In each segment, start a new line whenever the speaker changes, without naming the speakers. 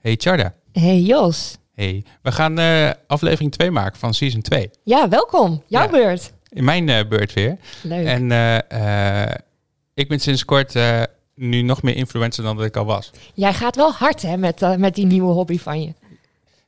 Hey Charda.
Hey Jos.
Hey, we gaan eh, aflevering 2 maken van season 2.
Ja, welkom. Jouw
Ja.
beurt.
In mijn eh, beurt weer.
Leuk.
En eh, eh, ik ben sinds kort eh, nu nog meer influencer dan dat ik al was.
Jij gaat wel hard hè, met, eh, met die nieuwe hobby van je.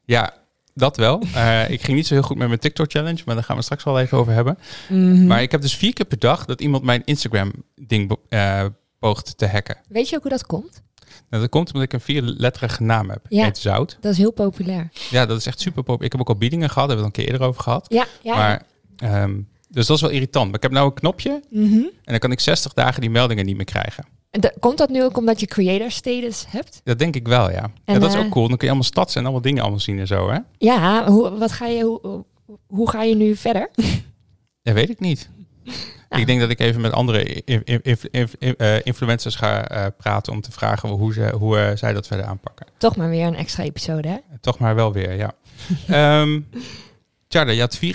Ja, dat wel. Eh, ik ging niet zo heel goed met mijn TikTok challenge, maar daar gaan we straks wel even over hebben.
Mhm.
Maar ik heb dus vier keer per dag dat iemand mijn Instagram ding be- eh, poogt te hacken.
Weet je ook hoe dat komt?
Nou, dat komt omdat ik een vierletterige naam heb.
Ja.
Ik heet Zout.
Dat is heel populair.
Ja, dat is echt super pop. Ik heb ook al biedingen gehad, daar hebben we het een keer eerder over gehad.
Ja, ja.
Maar, ehm, dus dat is wel irritant. Maar ik heb nou een knopje
Mhm.
en dan kan ik 60 dagen die meldingen niet meer krijgen.
En da- komt dat nu ook omdat je creator status hebt?
Dat denk ik wel, ja. En dat is
eh,
ook cool. Dan kun je allemaal stads en allemaal dingen allemaal zien en zo, hè?
Ja, hoe, wat ga je, hoe, hoe ga je nu verder?
Dat weet ik niet.
Nou.
Ik denk dat ik even met andere in- in- in- in- in- eh, influencers ga eh, praten om te vragen hoe, ze, hoe eh, zij dat verder aanpakken.
Toch maar weer een extra episode, hè?
Toch maar wel weer, ja. Ehm Charda, je had 24.000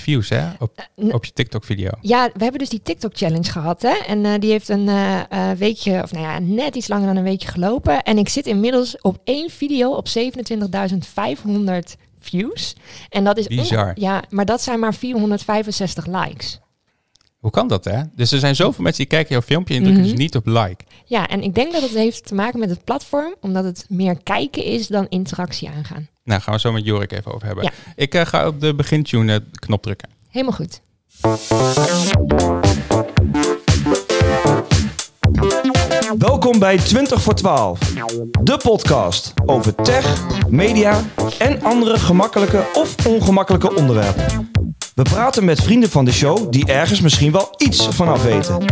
views hè, op,
Eh, n-
op je TikTok-video.
Ja, we hebben dus die TikTok-challenge gehad, hè? En eh, die heeft een eh, eh, weekje, of nou ja, net iets langer dan een weekje gelopen. En ik zit inmiddels op één video op 27.500 views. En dat is... onge-
Bizar.
Ja, maar dat zijn maar 465 likes.
Hoe kan dat, hè? Dus er zijn zoveel mensen die kijken jouw filmpje en drukken
Mhm.
dus niet op like.
Ja, en ik denk dat het heeft te maken met het platform, omdat het meer kijken is dan interactie aangaan.
Nou, gaan we zo met Jorik even over hebben.
Ja.
Ik eh, ga op de begintune eh, knop drukken.
Helemaal goed.
Welkom bij 20 voor 12, de podcast over tech, media en andere gemakkelijke of ongemakkelijke onderwerpen. We praten met vrienden van de show die ergens misschien wel iets vanaf weten.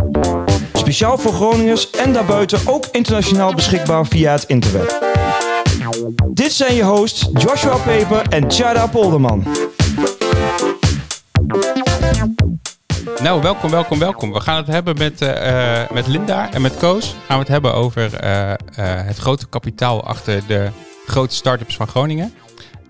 Speciaal voor Groningers en daarbuiten ook internationaal beschikbaar via het internet. Dit zijn je hosts Joshua Peper en Tjada Polderman.
Nou, welkom, welkom, welkom. We gaan het hebben met, eh, eh, met Linda en met Koos. Gaan we het hebben over eh, eh, het grote kapitaal achter de grote start-ups van Groningen.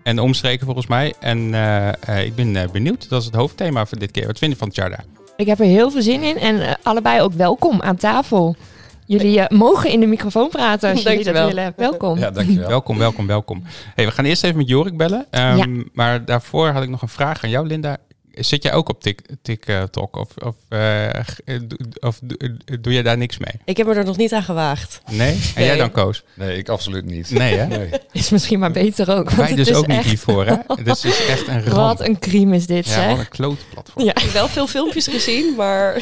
En de omstreken volgens mij. En eh, eh, ik ben eh, benieuwd. Dat is het hoofdthema voor dit keer. Wat vind je van Tjarda?
Ik heb er heel veel zin in en eh, allebei ook welkom aan tafel. Jullie eh, mogen in de microfoon praten als jullie dat
Dankjewel.
willen. Welkom.
Ja, dankjewel.
Welkom, welkom, welkom. Hey, we gaan eerst even met Jorik bellen. Ehm, Maar daarvoor had ik nog een vraag aan jou, Linda. Zit jij ook op Tik- TikTok? Of, of, eh, g- eh, do- of do- eh, doe jij daar niks mee?
Ik heb me er nog niet aan gewaagd.
Nee? En jij
Nee.
dan, Koos?
Nee, ik absoluut niet.
Nee, hè?
Is misschien maar beter ook. Want
Wij
het
dus
is
ook niet
echt,
hiervoor, hè? Dit is echt een ramp.
Wat een crime is dit,
Ja,
zeg.
wat een klootplatform.
Ja.
Ik heb wel veel filmpjes gezien, maar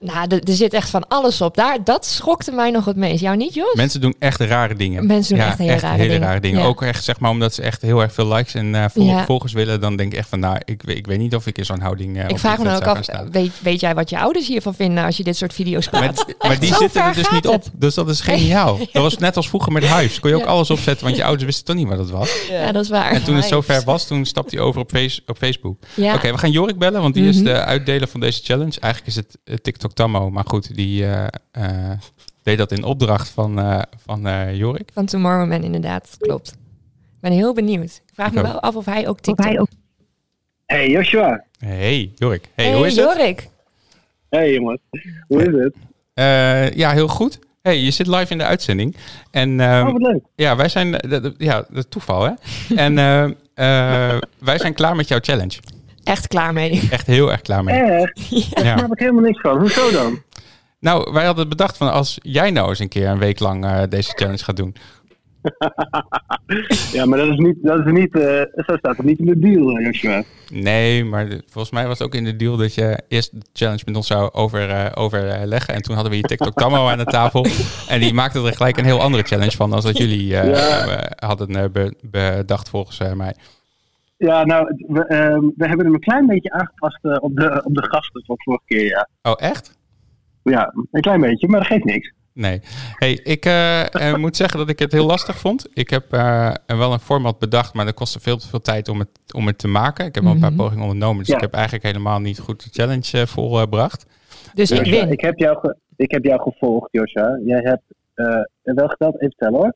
Nou, d- er zit echt van alles op. Daar, dat schokte mij nog het meest. Jou niet, Jos?
Mensen doen echt rare dingen.
Mensen doen echt hele rare
hele
dingen.
rare dingen.
Ja.
Ook echt, zeg maar, omdat ze echt heel erg veel likes en eh, vol-
Ja.
volgers willen. Dan denk ik echt van, nou, ik, we- ik weet niet of ik in zo'n houding... eh,
ik
op
vraag me dan ook
TikTok
af,
zou gaan staan.
weet, weet jij wat je ouders hiervan vinden als je dit soort video's plaatst?
Maar, maar die
zo
zitten er
ver
dus
gaat
niet op. Dus dat is geniaal. Dat was net als vroeger met huis. Kon je ook
Ja.
alles opzetten, want je ouders wisten toch niet wat het was.
Ja, dat is
En
waar.
toen het
Hives.
zover was, toen stapte hij over op, face, op Facebook.
Ja. Mhm.
Oké, we gaan Jorik bellen, want die is de uitdeler van deze challenge. Eigenlijk is het eh, TikTok Tammo, maar goed, die eh, eh, deed dat in opdracht van, eh, van eh, Jorik.
Van Tomorrowman, inderdaad. Klopt. Ik ben heel benieuwd. Ik vraag
Ik
me
ook.
wel af of hij ook TikTok...
Hey Joshua.
Hey Jorik, hey, hoe is het?
Jorik.
Hey jongens. Hoe is het?
Eh, ja, heel goed. Hey, je zit live in de uitzending. En ehm,
Oh, wat leuk.
ja, wij zijn, eh, dat- dat- ja, dat is toeval hè. en eh, eh, wij zijn klaar met jouw challenge.
Echt klaar mee.
Echt heel erg klaar mee.
Echt? Eh, Daar
Ja.
snap ik helemaal niks van. Hoezo dan?
Nou, wij hadden bedacht van als jij nou eens een keer een week lang eh, deze challenge gaat doen.
Ja, maar dat is niet, dat is niet eh, zo staat het niet in de deal, eh, Joshua.
Nee, maar de- volgens mij was het ook in de deal dat je eerst de challenge met ons zou over, eh, overleggen. En toen hadden we hier TikTok Tammo aan de tafel. En die maakte er gelijk een heel andere challenge van dan dat jullie eh, eh, hadden eh, be- bedacht volgens eh, mij.
Ja, nou, het- we, ehm, we hebben hem een klein beetje aangepast eh, op, de, op de gasten van vorige keer, ja.
Oh, echt?
Ja, een klein beetje, maar dat geeft niks.
Nee. Hey, ik eh, eh, moet zeggen dat ik het heel lastig vond. Ik heb eh, wel een format bedacht, maar dat kostte veel te veel tijd om het, om het te maken. Ik heb al een paar pogingen ondernomen, dus
Ja.
ik heb eigenlijk helemaal niet goed de challenge eh, volbracht.
Dus ik
Joshua,
win.
ik, heb jou ge- ik heb jou gevolgd, Joshua. Jij hebt eh wel geteld, even tellen hoor.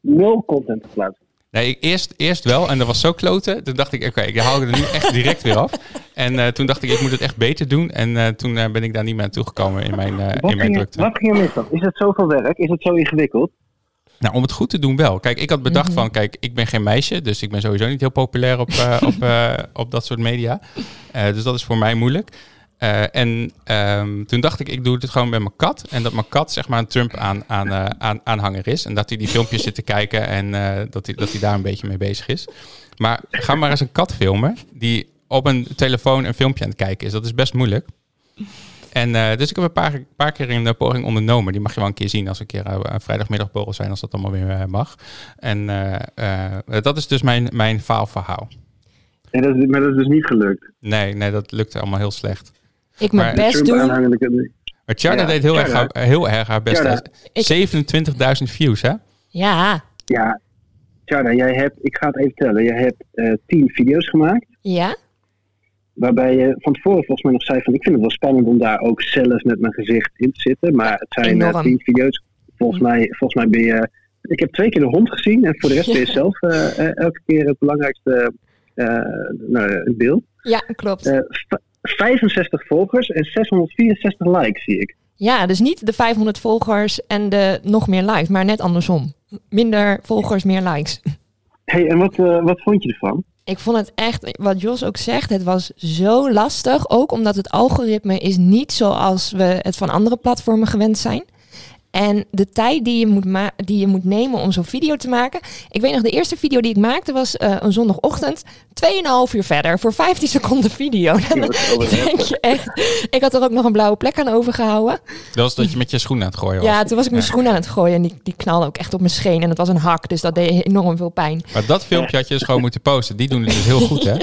Nul content geplaatst.
Nee, ik, eerst, eerst wel. En dat was zo kloten. Toen dacht ik, oké, ik haal er nu echt direct weer af. En eh, toen dacht ik, ik moet het echt beter doen. En eh, toen eh, ben ik daar niet meer aan toegekomen in mijn, eh,
Wat
in mijn
ging, er-
drukte.
wat ging er mis dan? Is het zoveel werk? Is het zo ingewikkeld?
Nou, om het goed te doen wel. Kijk, ik had bedacht
Mhm.
van, kijk, ik ben geen meisje, dus ik ben sowieso niet heel populair op, eh, op, eh, op dat soort media. Eh, dus dat is voor mij moeilijk. Eh, en ehm, toen dacht ik, ik doe dit gewoon met mijn kat. En dat mijn kat zeg maar een Trump aan, aan, eh, aan, aanhanger is. En dat hij die filmpjes zit te kijken en eh, dat, hij, dat hij daar een beetje mee bezig is. Maar ga maar eens een kat filmen die op een telefoon een filmpje aan het kijken is. Dat is best moeilijk. En eh, dus ik heb een paar, paar keer een eh, poging ondernomen. Die mag je wel een keer zien als we een keer eh, een vrijdagmiddagborrel zijn, als dat allemaal weer eh, mag. En eh, eh, dat is dus mijn, mijn faalverhaal.
En dat is, maar dat is dus niet gelukt.
Nee, nee, dat lukt allemaal heel slecht.
Ik mijn
Maar-
best doen.
doen.
Maar Charda
Ja,
deed heel erg,
Tjarda.
haar, heel erg haar best.
Tjarda.
Ik-
hè. 27.000 views, hè?
Ja,
Ja, Tjana, jij hebt, ik ga het even tellen. Jij hebt eh, tien video's gemaakt.
ja.
Waarbij je van tevoren volgens mij nog zei van... ik vind het wel spannend om daar ook zelf met mijn gezicht in te zitten. Maar het zijn eh,
Enorm. Mhm.
tien video's. Volgens mij, volgens mij ben je... Ik heb twee keer de hond gezien. En voor de rest ben je zelf eh, eh, elke keer het belangrijkste eh, nou, het beeld.
Ja, klopt.
Eh, v- 65 volgers en 664 likes zie ik.
Ja, dus niet de 500 volgers en de nog meer likes, maar net andersom. Minder volgers, meer likes.
hey, en wat, eh, wat vond je ervan?
Ik vond het echt, wat Jos ook zegt, het was zo lastig. Ook omdat het algoritme is niet zoals we het van andere platformen gewend zijn. En de tijd die je moet, ma- die je moet nemen om zo'n video te maken. Ik weet nog, de eerste video die ik maakte was eh, een zondagochtend. 2,5 uur verder voor 15 seconden video. Dan denk je echt. Ik had er ook nog een blauwe plek aan overgehouden.
Dat was dat je met je schoen aan het gooien was.
Ja, toen was ik mijn
Ja.
schoen aan het gooien en die, die knalde ook echt op mijn scheen. En het was een hak, dus dat deed enorm veel pijn.
Maar dat filmpje had je dus gewoon moeten posten. Die doen het dus heel goed, hè?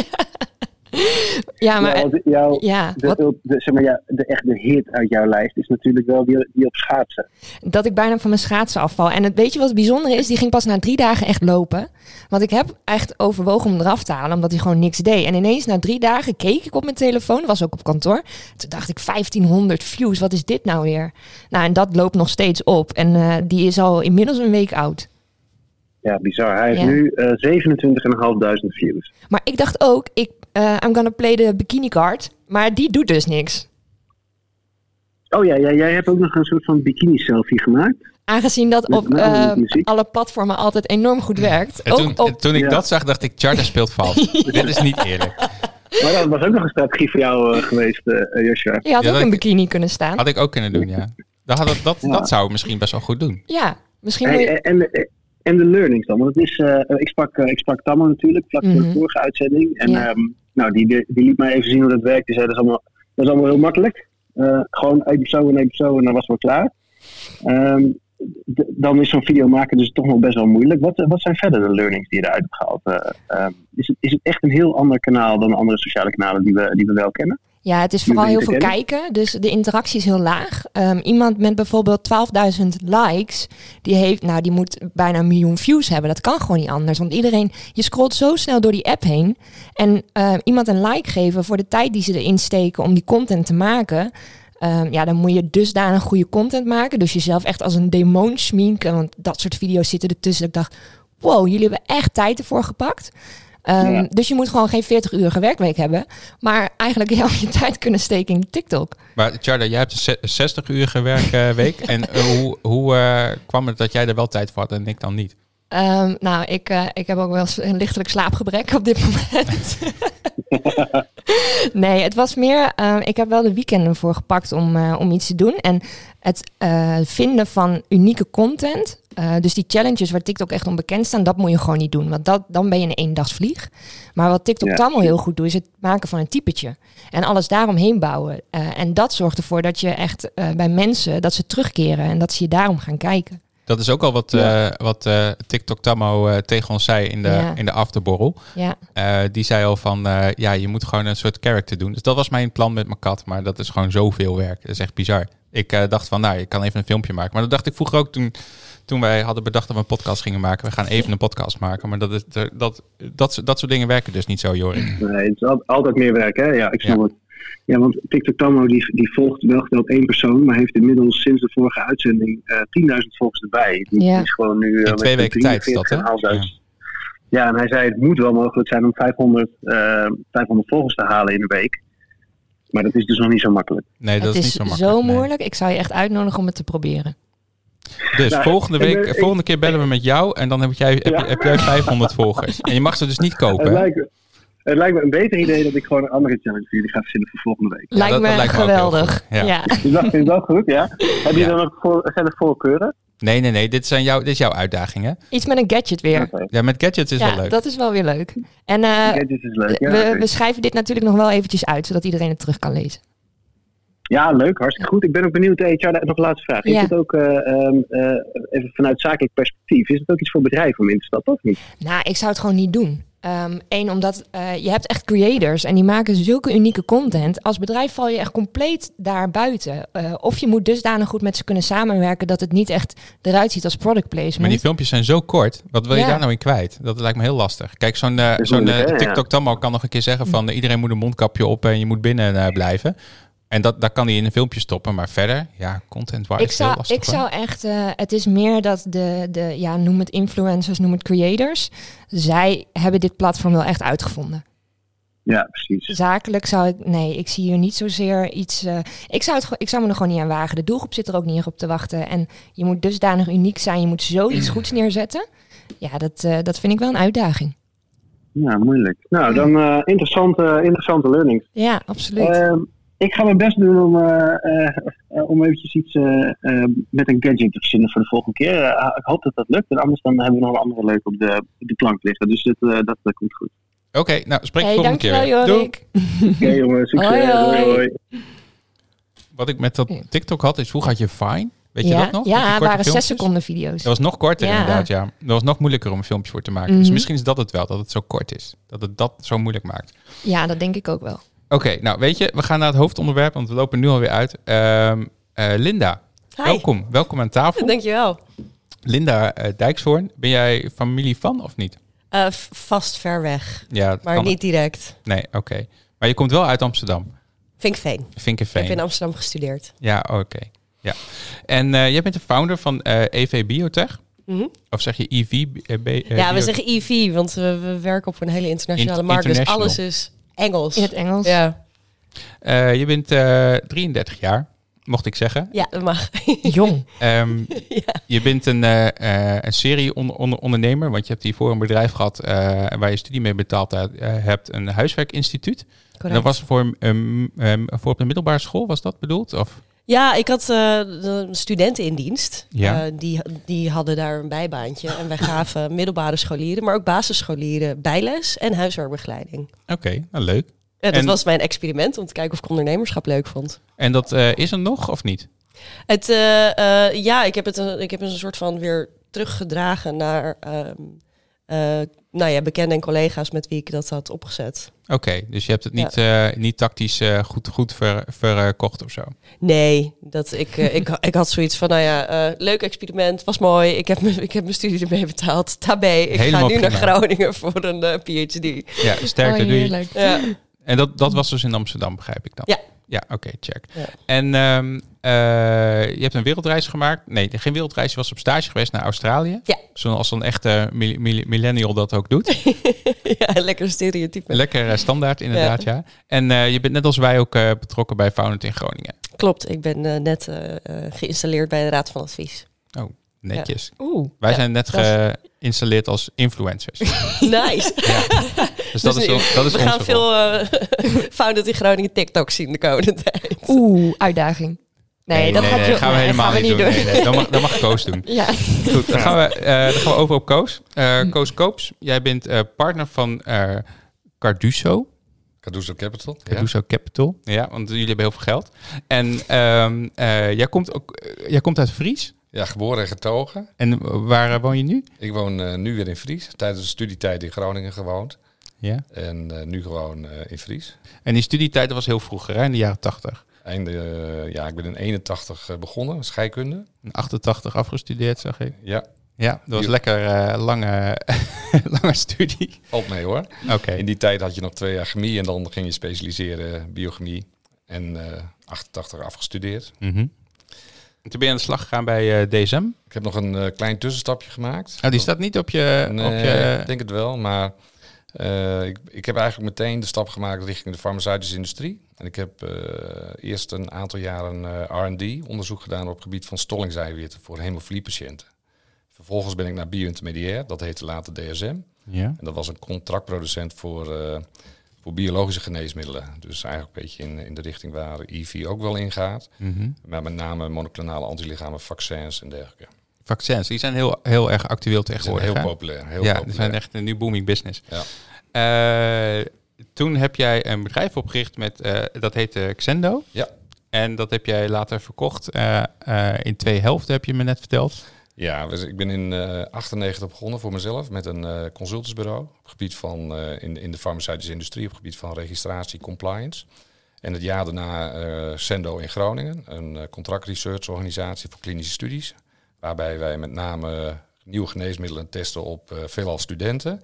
Ja, maar
Jouw- jouw-
ja,
de,
wat,
de- zeg maar, ja, de, echt de hit uit jouw lijst is natuurlijk wel die, die op schaatsen.
dat ik bijna van mijn schaatsen afval. En het, weet je wat het bijzondere is? Die ging pas na drie dagen echt lopen. Want ik heb echt overwogen om hem eraf te halen, omdat hij gewoon niks deed. En ineens na drie dagen keek ik op mijn telefoon, was ook op kantoor. Toen dacht ik, 1500 views, wat is dit nou weer? Nou, en dat loopt nog steeds op. En eh, die is al inmiddels een week oud.
Ja, bizar. Hij heeft
Ja.
nu eh 27.500 views.
Maar ik dacht ook, ik, eh, I'm gonna play the bikini card. Maar die doet dus niks.
Oh ja, ja, jij hebt ook nog een soort van bikini-selfie gemaakt.
Aangezien dat
Met
op
name
eh,
muziek.
alle platformen altijd enorm goed werkt.
En
ook
toen,
op,
en toen ik
Ja.
dat zag, dacht ik, Charda speelt vals. Dit is niet eerlijk.
Maar dat was ook nog een strategie voor jou eh, geweest, eh Joshua.
Oh, je had
Ja,
ook
dat
een
ik-
bikini kunnen staan.
Had ik ook kunnen doen, ja. Dat, had, dat,
Ja.
dat zou ik misschien best wel goed doen.
Ja, misschien moet
Hey,
je...
en, en- en de learnings dan? Want het is, eh, ik sprak, eh, ik sprak Tammo natuurlijk, vlak voor
Mhm.
de vorige uitzending. En
Ja.
ehm, nou, die, die, die liet mij even zien hoe dat werkt. Die zei, dat is allemaal, dat is allemaal heel makkelijk. Eh, gewoon even zo en even zo en dan was het wel klaar. Ehm, d- dan is zo'n video maken dus toch nog best wel moeilijk. Wat, eh, wat zijn verder de learnings die je eruit hebt gehaald? Eh, ehm, is, het, is het echt een heel ander kanaal dan de andere sociale kanalen die we, die we wel kennen?
Ja, het is
Nu
vooral
ben
heel
ik
veel
herkennen.
kijken. Dus de interactie is heel laag. Ehm, iemand met bijvoorbeeld 12.000 likes, die, heeft, nou, die moet bijna een miljoen views hebben. Dat kan gewoon niet anders. Want iedereen, je scrolt zo snel door die app heen. En ehm, iemand een like geven voor de tijd die ze erin steken om die content te maken. ehm, ja, dan moet je dusdanig goede content maken. Dus jezelf echt als een demon schminken. Want dat soort video's zitten ertussen. Dat Ik dacht, wow, jullie hebben echt tijd ervoor gepakt. Ehm,
Ja.
Dus je moet gewoon geen 40-urige werkweek hebben. Maar eigenlijk heel je tijd kunnen steken in TikTok.
Maar Charda, jij hebt een ze- een 60-urige werkweek. en eh, hoe, hoe eh, kwam het dat jij er wel tijd voor had en ik dan niet?
Ehm, nou, ik, eh, ik heb ook wel eens een lichtelijk slaapgebrek op dit moment. nee, het was meer. ehm, ik heb wel de weekenden voor gepakt om, eh, om iets te doen. En het eh, vinden van unieke content. eh, dus die challenges waar TikTok echt onbekend staan, dat moet je gewoon niet doen. Want dat, dan ben je een eendagsvlieg. Maar wat TikTok
Ja.
dan wel heel goed doet, is het maken van een typetje. En alles daaromheen bouwen. Eh, en dat zorgt ervoor dat je echt eh, bij mensen, dat ze terugkeren en dat ze je daarom gaan kijken.
Dat is ook al wat, eh, wat eh, TikTok Tammo eh, tegen ons zei in de,
Ja.
in de afterborrel.
Ja.
Eh, die zei al van, eh, ja, je moet gewoon een soort character doen. Dus dat was mijn plan met mijn kat, maar dat is gewoon zoveel werk. Dat is echt bizar. Ik eh, dacht van, nou, ik kan even een filmpje maken. Maar dat dacht ik vroeger ook toen, toen wij hadden bedacht dat we een podcast gingen maken. We gaan even een podcast maken. Maar dat, is, dat, dat, dat, soort dingen werken dus niet zo, Jorik.
Nee, het is al- altijd meer werk, hè? Ja, ik snap
Ja.
het. Ja, want TikTok Tammo die, die volgt wel geteld één persoon, maar heeft inmiddels sinds de vorige uitzending eh 10.000 volgers erbij. Die
Ja.
die is gewoon nu... eh, met
twee weken tijd is dat, hè?
43.500. Ja. en hij zei het moet wel mogelijk zijn om 500, eh 500 volgers te halen in een week. Maar dat is dus nog niet zo makkelijk.
Nee, dat
het is,
is, niet zo makkelijk.
zo
nee.
moeilijk. Ik zou je echt uitnodigen om het te proberen.
Dus
Nou,
volgende,
en,
week,
eh, ik-
volgende keer bellen we met jou en dan heb jij, heb,
Ja.
heb jij 500 volgers. En je mag ze dus niet kopen.
Het
hè?
lijkt, me- het lijkt me een beter idee dat ik gewoon een andere challenge voor jullie ga verzinnen voor volgende week.
Ja,
lijkt
dat-
me
dat lijkt me ook heel
geweldig.
goed. Ja.
ja.
Dus dat vind ik wel goed, ja. Heb je
Ja.
dan ook voor, verder voorkeuren?
Nee, nee, nee. Dit, zijn jouw dit is jouw uitdaging, hè?
Iets met een gadget weer.
Oké.
Ja, met gadgets is
ja,
wel leuk.
dat is wel weer leuk. En eh,
Gadgets is leuk. Ja,
we,
oké.
we schrijven dit natuurlijk nog wel eventjes uit, zodat iedereen het terug kan lezen.
ja, leuk, hartstikke goed. Ik ben ook benieuwd, eh, Tjarda, nog een laatste vraag. Is
Ja.
het ook, eh, ehm, eh, even vanuit zakelijk perspectief, is het ook iets voor bedrijven om in te stappen of niet?
Nou, ik zou het gewoon niet doen. Eén, omdat eh, je hebt echt creators en die maken zulke unieke content. Als bedrijf val je echt compleet daar buiten. Eh, of je moet dusdanig goed met ze kunnen samenwerken dat het niet echt eruit ziet als product placement.
Maar die filmpjes zijn zo kort. Wat wil je
Ja.
daar nou in kwijt? Dat lijkt me heel lastig. Kijk, zo'n eh,
is
zo'n eh,
moeilijk, hè?
TikTok Tammo kan nog een keer zeggen van... eh, iedereen moet een mondkapje op en je moet binnen eh, blijven. En dat, dat kan hij in een filmpje stoppen. Maar verder, ja, content-wise
Ik
is heel
zou,
lastig.
ik
hoor.
zou echt, eh, het is meer dat de, de, ja, noem het influencers, noem het creators. Zij hebben dit platform wel echt uitgevonden.
Ja, precies.
Zakelijk zou ik, nee, ik zie hier niet zozeer iets. eh, ik, zou het, gewoon- ik zou me er gewoon niet aan wagen. De doelgroep zit er ook niet op te wachten. En je moet dusdanig uniek zijn, je moet zoiets goeds neerzetten. Ja, dat, eh, dat vind ik wel een uitdaging.
Ja, moeilijk. Nou, dan eh, interessante, interessante learnings.
Ja, absoluut.
Ehm, ik ga mijn best doen om, eh, eh, eh, om eventjes iets eh, eh, met een gadget te verzinnen voor de volgende keer. Eh, ik hoop dat dat lukt. En anders dan hebben we nog een andere leuk op de, op de plank liggen. Dus dit, eh, dat eh, komt goed.
Oké, nou, spreek je
hey,
volgende keer.
dankjewel
weer. Doei.
Jorik.
Oké jongens, succes.
Hoi, hoi.
Wat ik met dat TikTok had, is vroeger had je Vine. Weet je
ja,
dat nog? Met die
ja
korte
waren zes
filmpjes.
seconden video's.
Dat was nog korter
Ja.
inderdaad, ja. Dat was nog moeilijker om een filmpje voor te maken. Dus
Mhm.
misschien is dat het wel, dat het zo kort is. Dat het dat zo moeilijk maakt.
Ja, dat denk ik ook wel.
Oké, nou weet je, we gaan naar het hoofdonderwerp, want we lopen nu alweer uit. Ehm, eh, Linda,
Hi.
welkom. Welkom aan tafel.
Dankjewel.
Linda eh, Dijkshoorn, ben jij familie van of niet?
Eh, v- vast ver weg,
Ja, dat
maar
kan-
niet direct.
Nee, oké. Maar je komt wel uit Amsterdam,
Vinkveen. Ik
Vinkenveen.
heb in Amsterdam gestudeerd.
Ja, oké. Ja. En eh, jij bent de founder van eh, EV Biotech?
Mhm.
Of zeg je EV? eh, B- eh,
ja, we
Bio-
zeggen IV, want we, we werken op een hele internationale
In-
markt.
international.
Dus alles is Engels.
In het Engels.
Ja.
Eh, je bent eh, 33 jaar, mocht ik zeggen.
ja, dat mag.
Jong.
Ehm, Je bent een, eh, eh, een serie on- on- ondernemer, want je hebt hiervoor een bedrijf gehad eh, waar je studie mee betaald eh, hebt, een huiswerkinstituut. En dat
Correct.
was voor, ehm, ehm, voor op de middelbare school, was dat bedoeld? Of?
Ja, ik had eh, de studenten in dienst.
Ja.
Eh, die, die hadden daar een bijbaantje. En wij gaven middelbare scholieren, maar ook basisscholieren bijles en huiswerkbegeleiding.
Oké, nou leuk.
Ja, dat
En-
was mijn experiment om te kijken of ik ondernemerschap leuk vond.
En dat eh, is er nog of niet?
Het, eh, eh, ja, ik heb het een, ik heb een soort van weer teruggedragen naar ehm, eh, nou ja, bekenden en collega's met wie ik dat had opgezet.
Oké, dus je hebt het niet, eh, niet tactisch eh, goed, goed ver- verkocht of zo.
Nee, dat ik, eh, ik, ik had zoiets van, nou ja, eh, leuk experiment, was mooi. Ik heb, mijn- ik heb mijn studie ermee betaald. Tabé, ik
Helemaal
ga nu naar
prima.
Groningen voor een eh, PhD.
Ja, sterkte,
oh,
doei.
heerlijk.
Ja.
En dat, dat was dus in Amsterdam, begrijp ik dan?
Ja.
Ja, oké, check.
Ja.
En ehm, eh, je hebt een wereldreis gemaakt. Nee, geen wereldreis. Je was op stage geweest naar Australië.
Ja.
Zoals een echte mil- mil- millennial dat ook doet.
ja, lekker stereotype.
Lekker eh, standaard inderdaad, ja. En eh, je bent net als wij ook eh, betrokken bij Founded in Groningen.
Klopt, ik ben eh, net eh, eh, geïnstalleerd bij de Raad van Advies.
Oh, Netjes.
Oeh.
Wij
Ja,
zijn net
dat is-
geïnstalleerd als influencers. Dus,
Nice. Dus
dat is,
nu-
wel- dat is
We
onze
gaan
rol.
veel eh, found Founded in Groningen TikTok zien de komende tijd.
Oeh, uitdaging. Nee, dat gaat
nee,
je-
gaan we
nee,
helemaal
gaan we
niet doen.
niet
Nee, nee, dan, mag, dan mag Koos doen.
Ja. Hm.
Goed, dan gaan we, eh, dan gaan we over op Koos. Eh, Koos Koops, jij bent eh, partner van eh, Carduso.
Cardozo Capital. Ja.
Caruso Capital. Ja, want jullie hebben heel veel geld. En ehm, eh, jij, komt ook, eh, jij komt uit Fries.
Ja, geboren en getogen.
En waar eh, woon je nu?
Ik woon eh, nu weer in Fries. Tijdens de studietijd in Groningen gewoond.
Ja.
En eh, nu gewoon eh, in Fries.
En die studietijd dat was heel vroeger, hè, in de jaren 80.
Einde, eh, ja, ik ben in 81 eh, begonnen, scheikunde.
In 88 afgestudeerd, zag ik.
Ja,
Hm. Ja, dat was
Ja.
lekker eh, lange, lange studie.
valt mee hoor.
Oké.
In die tijd had je nog twee jaar chemie en dan ging je specialiseren biochemie. En eh, 88 afgestudeerd.
Mhm. En Toen ben je aan de slag gegaan bij eh, DSM.
Ik
Nou,
heb nog een eh, klein tussenstapje gemaakt.
Oh, die staat niet op je... op
Nee,
je
ik denk het wel, maar eh, Eh, ik, ik heb eigenlijk meteen de stap gemaakt richting de farmaceutische industrie. En ik heb eh, eerst een aantal jaren eh, R&D onderzoek gedaan op het gebied van stollingseiwitten voor hemofiliepatiënten. Vervolgens ben ik naar bio-intermediair, dat heette later DSM.
Ja.
En dat was een contractproducent voor, eh, voor biologische geneesmiddelen. Dus eigenlijk een beetje in, in de richting waar IV ook wel ingaat.
Mhm.
Maar met name monoclonale antilichamen, vaccins en dergelijke.
Vaccins, die zijn heel, heel erg actueel
Die zijn
tegenwoordig.
heel
hè?
populair. Heel
ja, die
populair.
zijn echt een nu booming business.
Ja.
Eh, toen heb jij een bedrijf opgericht met, eh, dat heette Xendo.
Ja.
En dat heb jij later verkocht. eh, eh, in twee helften heb je me net verteld.
Ja, dus ik ben in eh 98 begonnen voor mezelf met een eh, consultantsbureau op het gebied van eh, in, in de farmaceutische industrie, op het gebied van registratie, compliance. En het jaar daarna eh Sendo in Groningen, een eh, contractresearchorganisatie voor klinische studies, waarbij wij met name eh, nieuwe geneesmiddelen testen op eh, veelal studenten.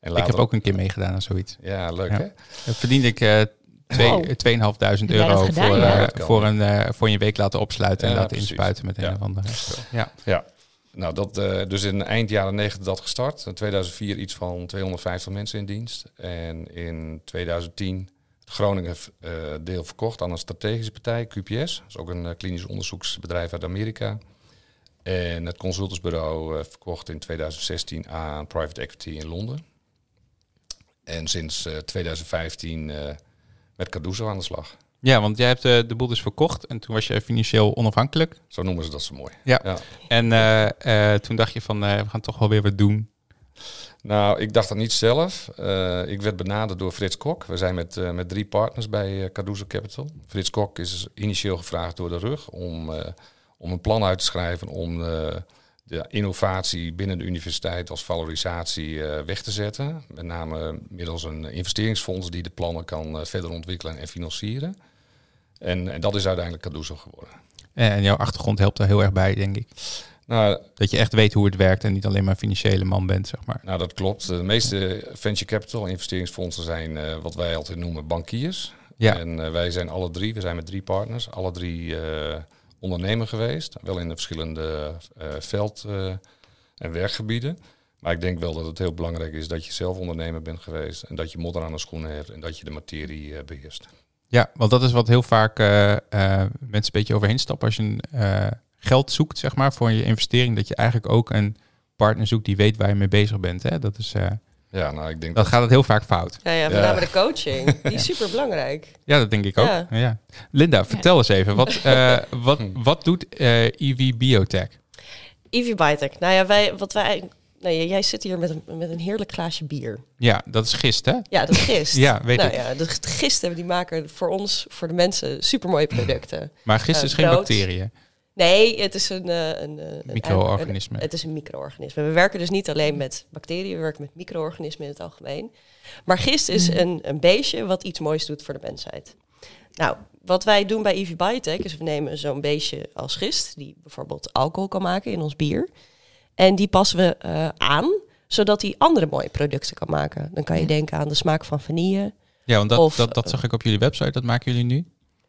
En
ik heb ook een keer meegedaan aan zoiets.
Ja, leuk
Ja.
hè?
Dan verdiende ik eh twee-
Wow.
eh, 2.500
Heb jij
euro
dat gedaan,
voor,
ja?
eh,
Ja, dat kan.
voor, een, eh, voor je week laten opsluiten en
Ja,
laten
precies.
inspuiten met een
Ja.
of andere. Ja.
Ja. Nou, dat, eh, dus in eind jaren 90 dat gestart. In 2004 iets van 250 mensen in dienst. En in 2010 het Groningen eh, deel verkocht aan een strategische partij, QPS. Dat is ook een eh, klinisch onderzoeksbedrijf uit Amerika. En het consultantsbureau eh, verkocht in 2016 aan private equity in Londen. En sinds eh, 2015 eh, met Cardozo aan de slag.
ja, want jij hebt eh, de boel dus verkocht en toen was je financieel onafhankelijk.
Zo noemen ze dat zo mooi.
Ja.
ja.
En eh, eh, toen dacht je van, eh, we gaan toch wel weer wat doen.
Nou, ik dacht dat niet zelf. Eh, ik werd benaderd door Frits Kok. We zijn met, eh, met drie partners bij eh, Cardozo Capital. Frits Kok is initieel gevraagd door de rug om, eh, om een plan uit te schrijven om eh, de innovatie binnen de universiteit als valorisatie eh, weg te zetten. Met name middels een investeringsfonds die de plannen kan eh, verder ontwikkelen en financieren. En, en dat is uiteindelijk Cardozo geworden.
En jouw achtergrond helpt daar heel erg bij, denk ik.
Nou,
Dat je echt weet hoe het werkt en niet alleen maar een financiële man bent, zeg maar.
Nou, dat klopt. De meeste venture capital investeringsfondsen zijn eh, wat wij altijd noemen bankiers.
Ja.
En eh, wij zijn alle drie, we zijn met drie partners, alle drie eh, ondernemer geweest. Wel in de verschillende eh, veld- eh, en werkgebieden. Maar ik denk wel dat het heel belangrijk is dat je zelf ondernemer bent geweest. En dat je modder aan de schoenen hebt en dat je de materie eh, beheerst.
Ja, want dat is wat heel vaak eh, eh, mensen een beetje overheen stappen. Als je een, eh, geld zoekt, zeg maar, voor je investering, dat je eigenlijk ook een partner zoekt die weet waar je mee bezig bent. Hè? Dat is, eh,
Ja, nou, ik denk
dat gaat het heel vaak fout.
Ja, ja, met
Ja.
name de coaching. Die is super belangrijk.
Ja, dat denk ik ook. Ja.
Ja.
Linda, vertel eens even, wat, eh, wat, wat doet eh EV Biotech?
Ivy Biotech. Nou ja, wij, wat wij. Nee, jij zit hier met een, met een heerlijk glaasje bier.
Ja, dat is gist, hè?
Ja, dat gist.
Ja, weet
nou
ik.
ja, de gisten die maken voor ons, voor de mensen, supermooie producten.
Maar gist
Eh,
is geen
brood.
bacteriën.
Nee, het is een... eh, een, eh, een
Micro-organisme.
een- Het is een micro-organisme. We werken dus niet alleen met bacteriën, we werken met micro-organismen in het algemeen. Maar gist is een, een beestje wat iets moois doet voor de mensheid. Nou, wat wij doen bij EV Biotech is we nemen zo'n beestje als gist, die bijvoorbeeld alcohol kan maken in ons bier. En die passen we eh, aan, zodat hij andere mooie producten kan maken. Dan kan je denken aan de smaak van vanille.
Ja, want dat,
Of- eh,
dat, dat zag ik op jullie website, dat maken jullie nu.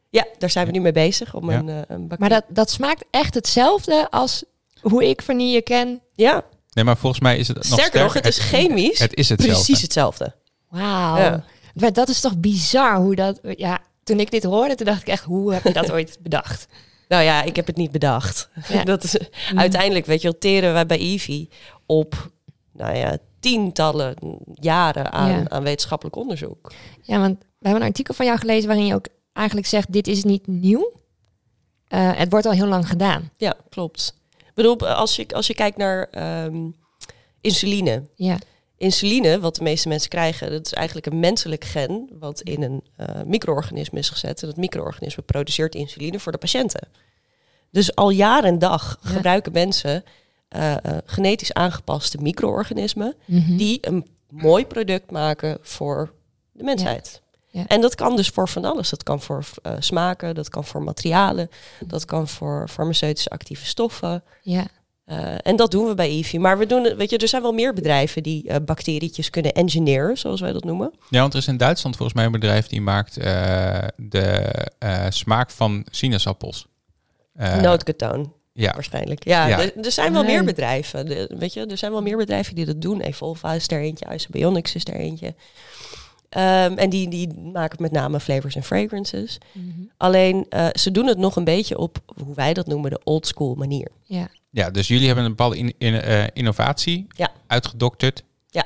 Ja, daar zijn we nu mee bezig om
Ja.
een, eh, een bacterie...
Maar dat, dat smaakt echt hetzelfde als hoe ik vanille ken.
ja,
Nee, maar volgens mij is het nog
sterker nog, het is chemisch
Het is hetzelfde.
precies hetzelfde.
Wauw.
Ja.
Maar dat is toch bizar hoe dat... Ja, toen ik dit hoorde, toen dacht ik echt, hoe heb je dat ooit bedacht?
Nou ja, ik heb het niet bedacht.
Ja. Mm.
Dat is, uiteindelijk, weet je wel, teren wij bij Ivy op nou ja, tientallen jaren aan,
Ja.
aan wetenschappelijk onderzoek.
Ja, want we hebben een artikel van jou gelezen waarin je ook eigenlijk zegt, dit is niet nieuw. Eh, het wordt al heel lang gedaan.
Ja, klopt. Ik bedoel, als je, als je kijkt naar ehm, insuline.
Ja,
Insuline, wat de meeste mensen krijgen, dat is eigenlijk een menselijk gen wat in een eh, micro-organisme is gezet. En dat micro-organisme produceert insuline voor de patiënten. Dus al jaar en dag
Ja.
gebruiken mensen eh, eh, genetisch aangepaste micro-organismen
Mhm.
die een mooi product maken voor de mensheid.
Ja. Ja.
En dat kan dus voor van alles. Dat kan voor eh, smaken, dat kan voor materialen, dat kan voor farmaceutische actieve stoffen.
ja.
Eh, en dat doen we bij Eevee. Maar we doen, het- weet je, er zijn wel meer bedrijven die eh, bacterietjes kunnen engineeren, zoals wij dat noemen.
Ja, want er is in Duitsland volgens mij een bedrijf die maakt eh, de eh, smaak van sinaasappels. Eh,
Noodketoon.
Ja.
waarschijnlijk. Ja, dus-
Ja.
Er, er zijn wel
Nee.
meer bedrijven. De- weet je, er zijn wel meer bedrijven die dat doen. Evolva is er eentje, Ice Bionics is er eentje. Ehm, en die, die maken met name flavors en fragrances. Alleen, eh, ze doen het nog een beetje op, hoe wij dat noemen, de old school manier.
Ja.
Ja, dus jullie hebben een bepaalde in, in- eh, innovatie
Ja.
uitgedokterd.
Ja.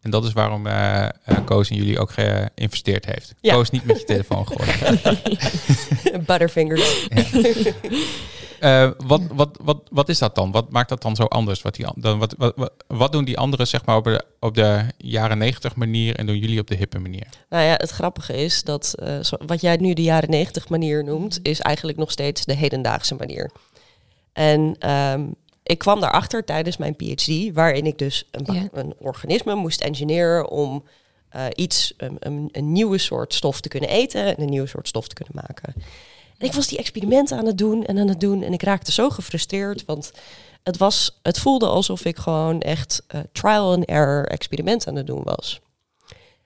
En dat is waarom eh, eh, Koos in jullie ook geïnvesteerd heeft.
Ja.
Koos niet met je telefoon gooien.
Butterfingers.
Eh, wat, wat, wat, wat is dat dan? Wat maakt dat dan zo anders? Wat, die, an- dan, wat, wat, wat- wat doen die anderen zeg maar, op, de, op de jaren negentig manier en doen jullie op de hippe manier?
Nou ja, het grappige is dat eh, zo- wat jij nu de jaren negentig manier noemt, is eigenlijk nog steeds de hedendaagse manier. En ehm, ik kwam daarachter tijdens mijn PhD, waarin ik dus een, ba-
Ja.
een organisme moest engineeren om eh, iets, een, een, een nieuwe soort stof te kunnen eten en een nieuwe soort stof te kunnen maken. En ik was die experimenten aan het doen en aan het doen en ik raakte zo gefrustreerd, want het, was, het voelde alsof ik gewoon echt eh, trial and error experimenten aan het doen was.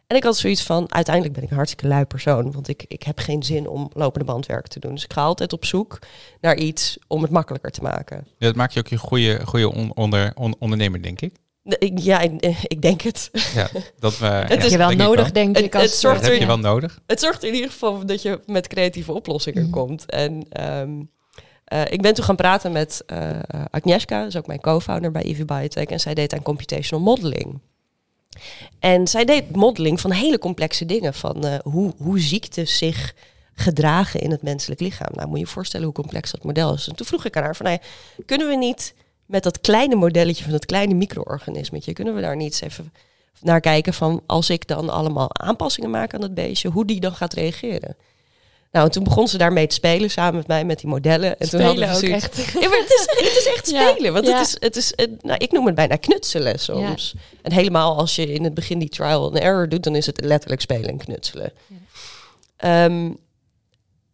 En ik had zoiets van, uiteindelijk ben ik een hartstikke lui persoon, want ik, ik heb geen zin om lopende bandwerk te doen. Dus ik ga altijd op zoek naar iets om het makkelijker te maken.
Ja, dat maakt je ook je goede, goede on- onder, on- ondernemer, denk ik.
De- ik- Ja, ik, eh, ik denk het.
Ja, dat, we
is-
Heb je wel nodig, denk
Het-
ik. Als, eh,
het zorgt
Dat heb je
Ja.
wel nodig.
Het zorgt in ieder geval dat je met creatieve oplossingen
Mhm.
komt. En ehm, eh, ik ben toen gaan praten met eh eh, Agnieszka, dat is ook mijn co-founder bij EV Biotech. En zij deed aan computational modeling. En zij deed modeling van hele complexe dingen. Van eh, hoe, hoe ziektes zich gedragen in het menselijk lichaam. Nou, moet je je voorstellen hoe complex dat model is. En toen vroeg ik aan haar van, hey, kunnen we niet met dat kleine modelletje van dat kleine micro-organismetje, kunnen we daar niet eens even naar kijken van als ik dan allemaal aanpassingen maak aan dat beestje, hoe die dan gaat reageren. Nou, en toen begon ze daarmee te spelen samen met mij met die modellen. En toen hadden
spelen
we
ook
zoiets-
echt.
Ja, maar het is, het is echt
Ja,
spelen. Want
ja.
het is, het is het- nou, ik noem het bijna knutselen soms. En helemaal als je in het begin die trial and error doet, dan is het letterlijk spelen en knutselen. Ehm,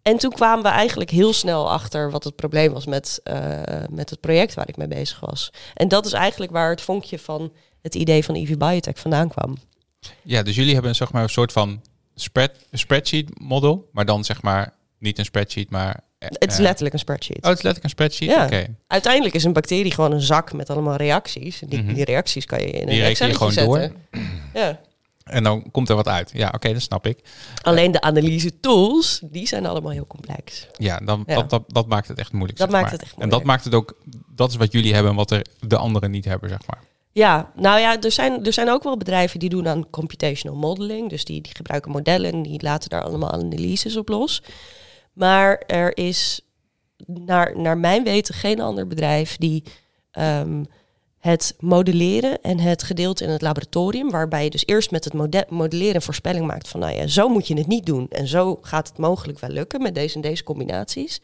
en toen kwamen we eigenlijk heel snel achter wat het probleem was met, eh, met het project waar ik mee bezig was. En dat is eigenlijk waar het vonkje van het idee van EV Biotech vandaan kwam.
Ja, dus jullie hebben zeg maar, een soort van spread, spreadsheet model, maar dan zeg maar niet een spreadsheet, maar... eh,
Het is
eh,
letterlijk een spreadsheet.
Oh, het is letterlijk een spreadsheet?
Ja.
Oké.
Uiteindelijk is een bacterie gewoon een zak met allemaal reacties. En Die,
Mhm.
die reacties kan je in
Die
een
reken je
Excel
gewoon
zetten.
door.
Ja.
En dan komt er wat uit. Ja, oké, dat snap ik.
Alleen de analyse tools, die zijn allemaal heel complex.
Ja, dan,
Ja.
Dat, dat, dat maakt het echt moeilijk.
Dat
zeg
maakt
maar.
het echt
En dat maakt het ook, dat is wat jullie hebben en wat er de anderen niet hebben, zeg maar.
Ja, nou ja, er zijn, er zijn ook wel bedrijven die doen aan computational modeling. Dus die, die gebruiken modellen en die laten daar allemaal analyses op los. Maar er is naar, naar mijn weten geen ander bedrijf die ehm, het modelleren en het gedeelte in het laboratorium, waarbij je dus eerst met het mode- modelleren een voorspelling maakt van, nou ja, zo moet je het niet doen en zo gaat het mogelijk wel lukken met deze en deze combinaties.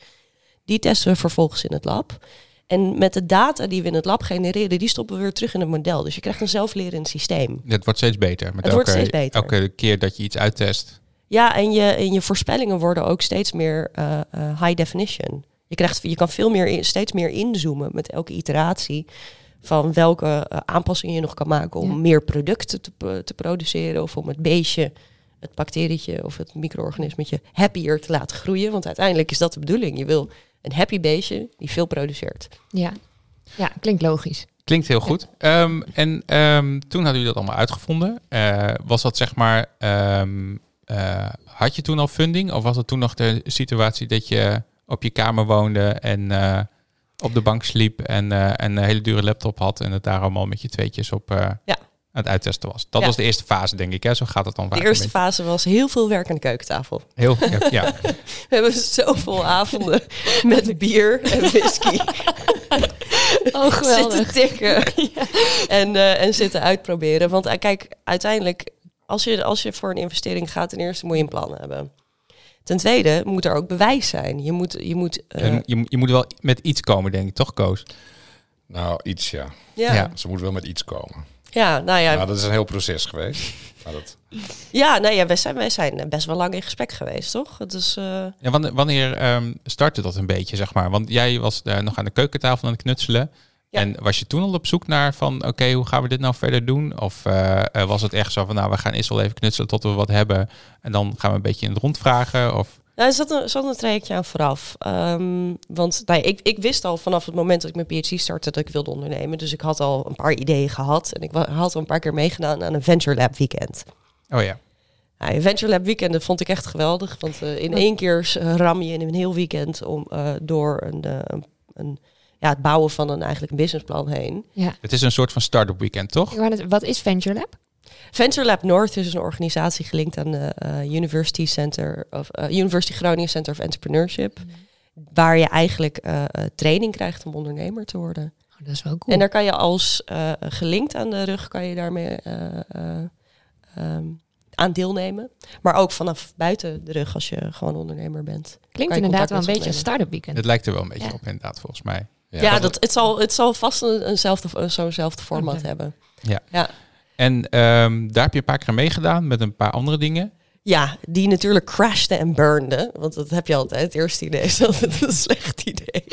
Die testen we vervolgens in het lab. En met de data die we in het lab genereren, die stoppen we weer terug in het model. Dus je krijgt een zelflerend systeem.
Het wordt steeds beter.
Het
Met elke,
wordt steeds beter.
Elke keer dat je iets uittest.
Ja, en je, en je voorspellingen worden ook steeds meer eh, eh, high definition. Je, krijgt, je kan veel meer, in- steeds meer inzoomen met elke iteratie van welke eh, aanpassingen je nog kan maken om
Ja.
meer producten te, pro- te produceren of om het beestje, het bacterietje of het micro-organismetje happier te laten groeien. Want uiteindelijk is dat de bedoeling. Je wil een happy beestje die veel produceert.
Ja. ja, klinkt logisch.
Klinkt heel goed. Ehm, en ehm, toen hadden jullie dat allemaal uitgevonden. Eh, was dat zeg maar, ehm, eh, had je toen al funding? Of was dat toen nog de situatie dat je op je kamer woonde en eh, op de bank sliep en eh, een hele dure laptop had en het daar allemaal met je tweetjes op eh,
Ja.
aan het uittesten was? Dat
Ja.
was de eerste fase, denk ik. Hè? Zo gaat het dan vaak.
De
een
eerste
beetje.
fase was heel veel werk aan de keukentafel.
Heel, ja, ja.
We hebben zoveel avonden met bier en whisky
Oh,
zitten tikken. en, eh, en zitten uitproberen. Want eh, kijk, uiteindelijk, als je, als je voor een investering gaat, ten eerste moet je een plan hebben. Ten tweede moet er ook bewijs zijn. Je moet, je moet eh,
En je, je moet wel met iets komen, denk ik, toch, Koos?
Nou, iets ja.
ja,
ja.
ja.
Ze moeten wel met iets komen.
nou ja,
Nou, dat is een heel proces geweest. Maar dat,
ja, nou ja wij, zijn, wij zijn best wel lang in gesprek geweest, toch? Het is, eh,
Ja, wanneer, wanneer ehm, startte dat een beetje, zeg maar? Want jij was eh, nog aan de keukentafel aan het knutselen.
Ja.
En was je toen al op zoek naar van, oké, hoe gaan we dit nou verder doen? Of eh, eh, was het echt zo van, nou, we gaan eerst wel even knutselen tot we wat hebben. En dan gaan we een beetje in het rond vragen? Of,
Nou, er zat een, zat een trajectje aan vooraf. Ehm, want nou ja, ik, ik wist al vanaf het moment dat ik mijn PhD startte dat ik wilde ondernemen. Dus ik had al een paar ideeën gehad. En ik wa- had al een paar keer meegedaan aan een Venture Lab weekend.
Oh ja.
Nou, een Venture Lab weekenden vond ik echt geweldig. Want eh, in één keer s- ram je in een heel weekend om, eh, door een, eh, een, een- ja, het bouwen van een, eigenlijk een businessplan heen.
Ja.
Het is een soort van start-up weekend, toch?
Ik wou net- Wat is Venture Lab?
Venture Lab North is een organisatie gelinkt aan de eh, University, Center of, eh, University Groningen Center of Entrepreneurship.
Mm.
Waar je eigenlijk eh, eh, training krijgt om ondernemer te worden.
Oh, dat is wel cool.
En daar kan je als eh, gelinkt aan de rug, kan je daarmee eh, eh, ehm, aan deelnemen. Maar ook vanaf buiten de rug als je gewoon ondernemer bent.
Klinkt
kan je
inderdaad
contact
wel een
met
beetje als
opnemen.
start-up weekend.
Het lijkt er wel een beetje
Ja.
op, inderdaad, volgens mij.
Ja, dat, het, zal, het zal vast een, eenzelfde, een- zo'nzelfde format
leuk.
hebben.
En ehm, daar heb je een paar keer aan meegedaan met een paar andere dingen.
Ja, die natuurlijk crashte en burnde. Want dat heb je altijd. Het eerste idee is altijd een slecht idee.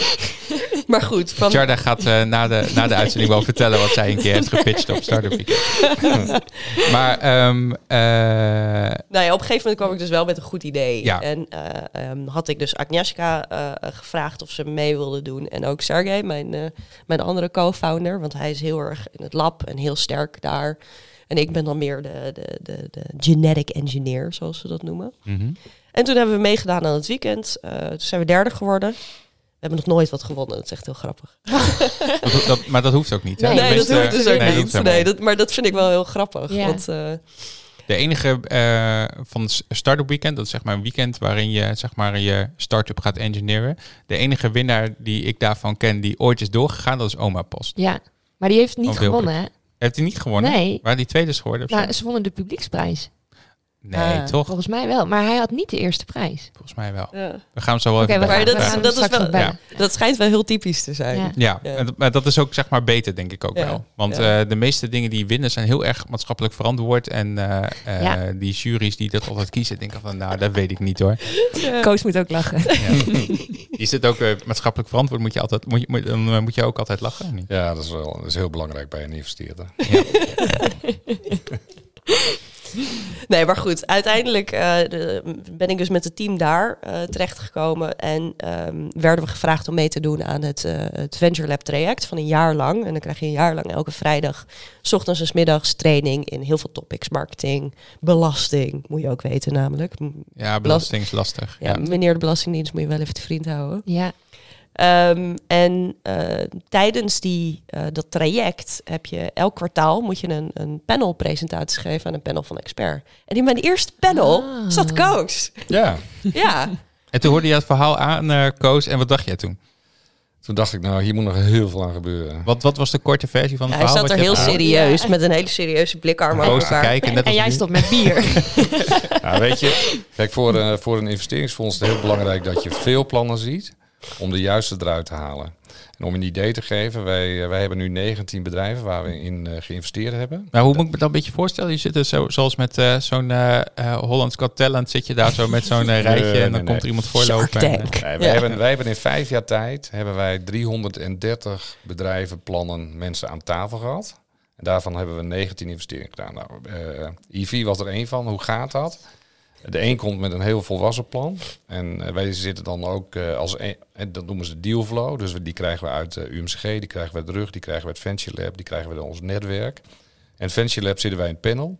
maar goed, van,
Jarda gaat eh, na, de, na de uitzending wel vertellen wat zij een keer heeft gepitcht op Startup Weekend. maar ehm, eh,
Nou ja, op een gegeven moment kwam ik dus wel met een goed idee.
Ja.
En eh, ehm, had ik dus Agnieszka eh, eh, gevraagd of ze mee wilde doen. En ook Sergey, mijn, eh, mijn andere co-founder. Want hij is heel erg in het lab en heel sterk daar. En ik ben dan meer de, de, de, de genetic engineer, zoals ze dat noemen.
mhm.
En toen hebben we meegedaan aan het weekend. Eh, toen zijn we derde geworden. We hebben nog nooit wat gewonnen. Dat is echt heel grappig.
dat, ho- dat- maar dat hoeft ook niet. hè?
Nee,
Nee, dat
Tenminste,
hoeft dus ook
nee, dat
niet.
hoeft helemaal
nee, dat, maar dat vind ik wel heel grappig.
Ja.
Want, eh,
De enige eh, van s- Startup Weekend, dat is zeg maar een weekend waarin je zeg maar je startup gaat engineeren. De enige winnaar die ik daarvan ken die ooit is doorgegaan, dat is Oma Post.
Ja, maar die heeft niet
Of heel
gewonnen. hè?
Heeft hij niet gewonnen?
Nee,
Waar die tweede is geworden? of zo?
nou, ze wonnen de publieksprijs.
nee,
Ah.
toch?
Volgens mij wel. Maar hij had niet de eerste prijs.
Volgens mij wel.
ja.
We gaan hem zo wel
Oké,
even
we,
Maar
gaan- we gaan hem
dat is-
vragen.
dat is
straks
wel-
nog bellen.
Dat schijnt wel heel typisch te zijn.
Ja.
Ja,
Ja.
en dat- maar dat is ook zeg maar beter, denk ik ook
Ja.
wel. Want
Ja.
eh, de meeste dingen die winnen zijn heel erg maatschappelijk verantwoord. En eh, eh,
Ja.
die juries die dat altijd kiezen, denken van nou, dat weet ik niet hoor.
Koos moet ook lachen.
Die zit ook eh, maatschappelijk verantwoord, moet je, altijd, moet, je, moet, dan eh, moet je ook altijd lachen. of niet?
Ja, dat is, wel, dat is heel belangrijk bij een investeerder.
Nee, maar goed, uiteindelijk eh, de- ben ik dus met het team daar eh, terechtgekomen. En ehm, werden we gevraagd om mee te doen aan het, eh, het Venture Lab traject van een jaar lang. En dan krijg je een jaar lang elke vrijdag, s ochtends en s middags, training in heel veel topics. Marketing, belasting, moet je ook weten namelijk. M-
Ja, belasting is lastig.
Ja,
Ja.
Meneer de Belastingdienst moet je wel even te vriend houden.
Ja,
Ehm, en eh, tijdens die, eh, dat traject heb je elk kwartaal moet je een, een panelpresentatie geven aan een panel van expert. En in mijn eerste panel
Ah.
zat Koos.
Ja.
ja,
En toen hoorde je dat verhaal aan, eh, Koos. En wat dacht jij toen?
Toen dacht ik, nou, hier moet nog heel veel aan gebeuren.
Wat, wat was de korte versie van
Ja,
het
hij
verhaal?
zat er
wat je
heel
hebt gehoord?
serieus, met een hele serieuze blikarm over
Koos te
elkaar.
kijken. Net
en
als
jij
nu.
stond met bier.
Ja, nou, weet je, kijk, voor, eh, voor een investeringsfonds is het heel belangrijk dat je veel plannen ziet om de juiste eruit te halen. En om een idee te geven, wij, eh, wij hebben nu 19 bedrijven waar we in eh, geïnvesteerd hebben.
Nou, hoe moet ik me dat een beetje voorstellen? Je zit er zo, zoals met eh, zo'n eh eh, Hollands Got Talent, zit je daar zo met zo'n eh, rijtje
Nee,
en dan
nee,
komt er
nee.
iemand voorlopen.
Shark
en, eh,
Tank.
Nee, wij, hebben, wij hebben in vijf jaar tijd hebben wij 330 bedrijven, plannen, mensen aan tafel gehad. En daarvan hebben we 19 investeringen gedaan. Nou, eh IV was er één van. Hoe gaat dat? De een komt met een heel volwassen plan. En eh, wij zitten dan ook eh, als een, en dat noemen ze deal flow. Dus we- die krijgen we uit de UMCG, die krijgen we uit de rug, die krijgen we uit Venture Lab, die krijgen we uit ons netwerk. En Venture Lab zitten wij in het panel.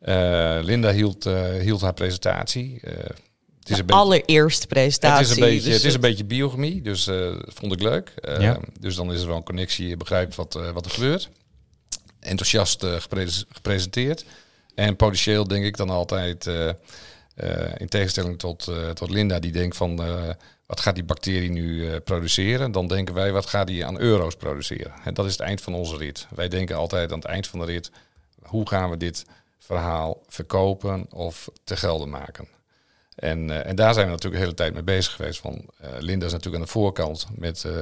Eh, Linda hield, eh, hield haar presentatie. Eh, het is een beetje-
Allereerste
het
presentatie.
is, een beetje,
dus
het is een beetje biochemie, dus eh, dat vond ik leuk. Eh,
Ja.
Dus dan is er wel een connectie, je begrijpt wat, eh, wat er gebeurt. Enthousiast eh, gepres- gepresenteerd. En potentieel denk ik dan altijd, eh, eh, in tegenstelling tot, eh, tot Linda, die denkt van... eh, wat gaat die bacterie nu eh, produceren? Dan denken wij, wat gaat die aan euro's produceren? En dat is het eind van onze rit. Wij denken altijd aan het eind van de rit... hoe gaan we dit verhaal verkopen of te gelden maken? En, eh, en daar zijn we natuurlijk de hele tijd mee bezig geweest. Van, eh, Linda is natuurlijk aan de voorkant met, eh,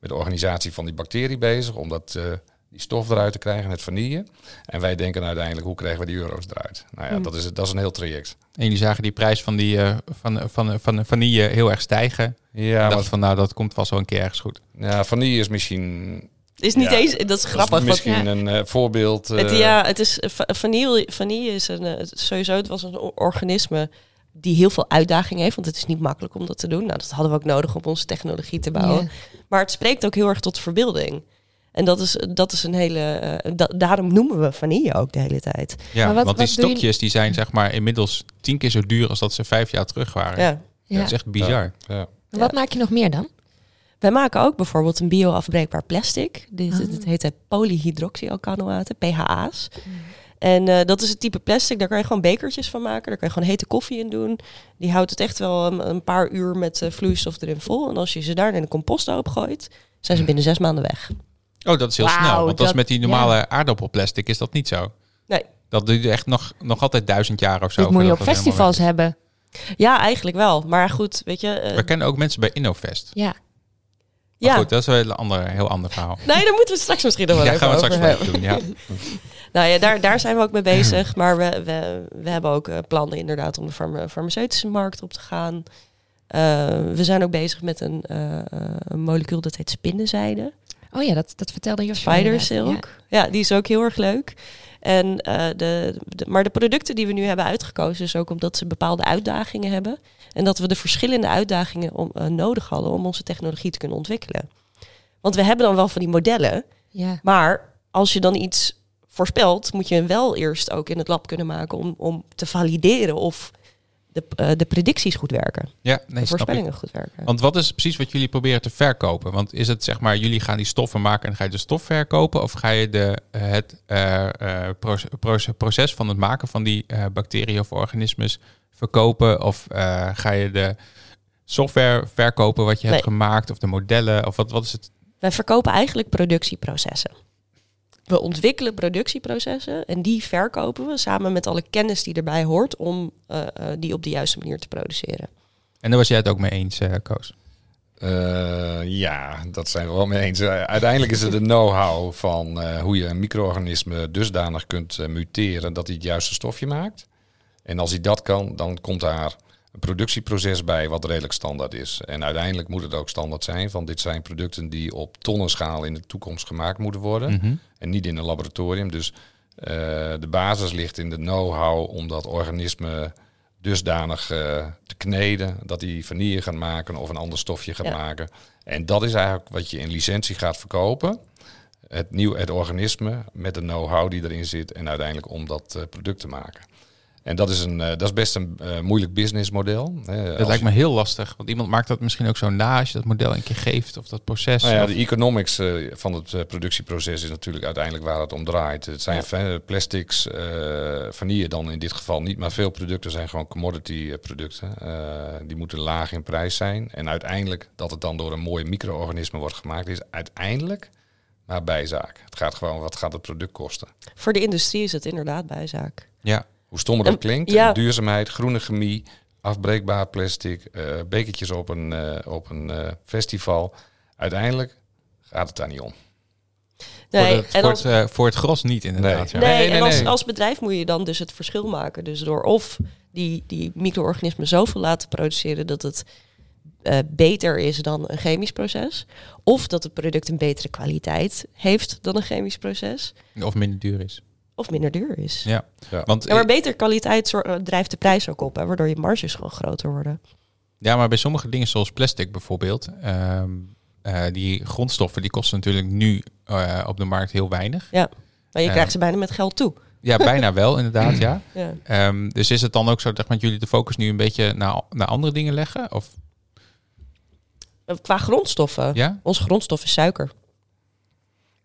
met de organisatie van die bacterie bezig, om dat, eh, die stof eruit te krijgen, het vanille. En wij denken uiteindelijk, hoe krijgen we die euro's eruit? Nou ja, dat, is, dat is een heel traject.
En jullie zagen die prijs van die eh, van, van, van, vanille heel erg stijgen.
Ja,
ik dacht van nou, dat komt vast wel een keer ergens goed.
ja, vanille is misschien,
is niet
Ja.
eens, dat is grappig.
dat is
want-
misschien
ja.
een eh, voorbeeld. eh,
Het, ja, het is eh, va- vanille, vanille is een eh, het- sowieso. Het was een o- organisme die heel veel uitdaging heeft, want het is niet makkelijk om dat te doen. Nou, dat hadden we ook nodig om onze technologie te bouwen.
Ja.
Maar het spreekt ook heel erg tot verbeelding. En dat is, dat is een hele. eh, da- daarom noemen we vanille ook de hele tijd.
Ja,
Maar wat-
want die
wat doe je-
stokjes die zijn zeg maar inmiddels tien keer zo duur als dat ze vijf jaar terug waren.
Ja.
Ja.
Dat is echt bizar.
Ja.
En Wat maak je nog meer dan?
Wij maken ook bijvoorbeeld een bioafbreekbaar plastic. Dit,
Ah.
dit heet het polyhydroxyalkanoaten, PHA's.
Mm.
En eh, dat is het type plastic, daar kan je gewoon bekertjes van maken. Daar kan je gewoon hete koffie in doen. Die houdt het echt wel ehm, een, een paar uur met eh, vloeistof erin vol. En als je ze daar in de composthoop gooit, zijn ze binnen zes maanden weg.
Dus
Oh, dat is heel
Wauw,
snel. Want dat, is
dat-
met die normale aardappelplastic is dat niet zo.
Nee.
Dat duurt echt nog, nog altijd duizend jaar of zo.
Dit moet je op
voordat dat helemaal
festivals
weg
hebben.
Ja, eigenlijk wel. Maar goed, weet je... eh,
is. We kennen ook mensen bij Innofest.
Ja.
Maar
ja.
goed, dat is wel een hele andere, heel ander verhaal.
Nee, daar moeten we het straks misschien nog wel
Ja,
even
gaan we het straks
over
wel
hebben.
even doen. Ja.
Nou ja, daar, daar zijn we ook mee bezig. Maar we, we, we hebben ook eh, plannen inderdaad om de farma- farmaceutische markt op te gaan. Eh, we zijn ook bezig met een, eh, eh, een molecuul dat heet spinnenzijde.
Oh ja, dat, dat vertelde Josje.
Spider
inderdaad.
silk. Ja. die is ook heel erg leuk. En, eh, de, de- maar de producten die we nu hebben uitgekozen is ook omdat ze bepaalde uitdagingen hebben. En dat we de verschillende uitdagingen om, eh, nodig hadden om onze technologie te kunnen ontwikkelen. Want we hebben dan wel van die modellen,
Ja. ja.
maar als je dan iets voorspelt, moet je hem wel eerst ook in het lab kunnen maken om, om te valideren of de, eh, de predicties goed werken.
ja, nee,
de
snap ik.
voorspellingen goed werken.
Want wat is precies wat jullie proberen te verkopen? Want is het zeg maar, jullie gaan die stoffen maken en ga je de stof verkopen? Of ga je de, het eh, eh, proce- proce- proces van het maken van die eh, bacteriën of organismes verkopen? Of eh, ga je de software verkopen wat je hebt
Nee.
gemaakt? Of de modellen? Of wat, wat is het?
Wij verkopen eigenlijk productieprocessen. We ontwikkelen productieprocessen en die verkopen we samen met alle kennis die erbij hoort om eh, eh, die op de juiste manier te produceren.
En daar was jij het ook mee eens, eh, Koos.
Eh, ja, dat zijn we wel mee eens. Eh, Uiteindelijk is het de know-how van eh, hoe je een micro-organisme dusdanig kunt eh, muteren dat hij het juiste stofje maakt. En als hij dat kan, dan komt daar een productieproces bij wat redelijk standaard is. En uiteindelijk moet het ook standaard zijn, want dit zijn producten die op tonnenschaal in de toekomst gemaakt moeten worden.
Mhm.
En niet in een laboratorium. Dus eh, de basis ligt in de know-how om dat organisme dusdanig eh, te kneden dat die vanille gaat maken of een ander stofje gaat
Ja.
maken. En dat is eigenlijk wat je in licentie gaat verkopen. Het nieuw het organisme met de know-how die erin zit en uiteindelijk om dat eh, product te maken. En dat is, een, eh, dat is best een eh, moeilijk businessmodel. hè.
Dat
Nou Als
lijkt me heel lastig. Want iemand maakt dat misschien ook zo na als je dat model een keer geeft. Of dat proces.
Nou ja,
Of-
de economics eh, van het eh, productieproces is natuurlijk uiteindelijk waar het om draait. Het zijn eh, plastics, eh, vanille dan in dit geval niet, maar veel producten zijn gewoon commodity eh, producten. Eh, die moeten laag in prijs zijn. En uiteindelijk dat het dan door een mooi micro-organisme wordt gemaakt, is uiteindelijk maar bijzaak. Het gaat gewoon, wat gaat het product kosten?
Voor de industrie is het inderdaad bijzaak.
ja.
Hoe stommer dat
En-
klinkt,
ja.
duurzaamheid, groene chemie, afbreekbaar plastic, eh, bekertjes op een, eh, op een eh, festival. Uiteindelijk gaat het daar niet om.
voor, het,
en
voor,
als-
het, eh, voor het gros niet inderdaad.
Nee.
Ja.
Nee,
nee,
en als,
nee.
als bedrijf moet je dan dus het verschil maken. Dus door of die, die micro-organismen zoveel laten produceren dat het eh, beter is dan een chemisch proces. Of dat het product een betere kwaliteit heeft dan een chemisch proces.
Of minder duur is.
Of minder duur is. Ja.
Ja.
Ja.
Want,
maar beter kwaliteit zor- eh, drijft de prijs ook op, hè, waardoor je marges gewoon groter worden.
Ja, maar bij sommige dingen zoals plastic bijvoorbeeld, ehm, eh, die grondstoffen die kosten natuurlijk nu eh, op de markt heel weinig.
Maar je
Ja.
krijgt ze bijna met geld toe.
Ja, bijna wel inderdaad, ja.
Ja.
Ehm, dus is het dan ook zo dat want jullie de focus nu een beetje naar, naar andere dingen leggen? Of
Qua grondstoffen.
ja?
Onze grondstof is suiker.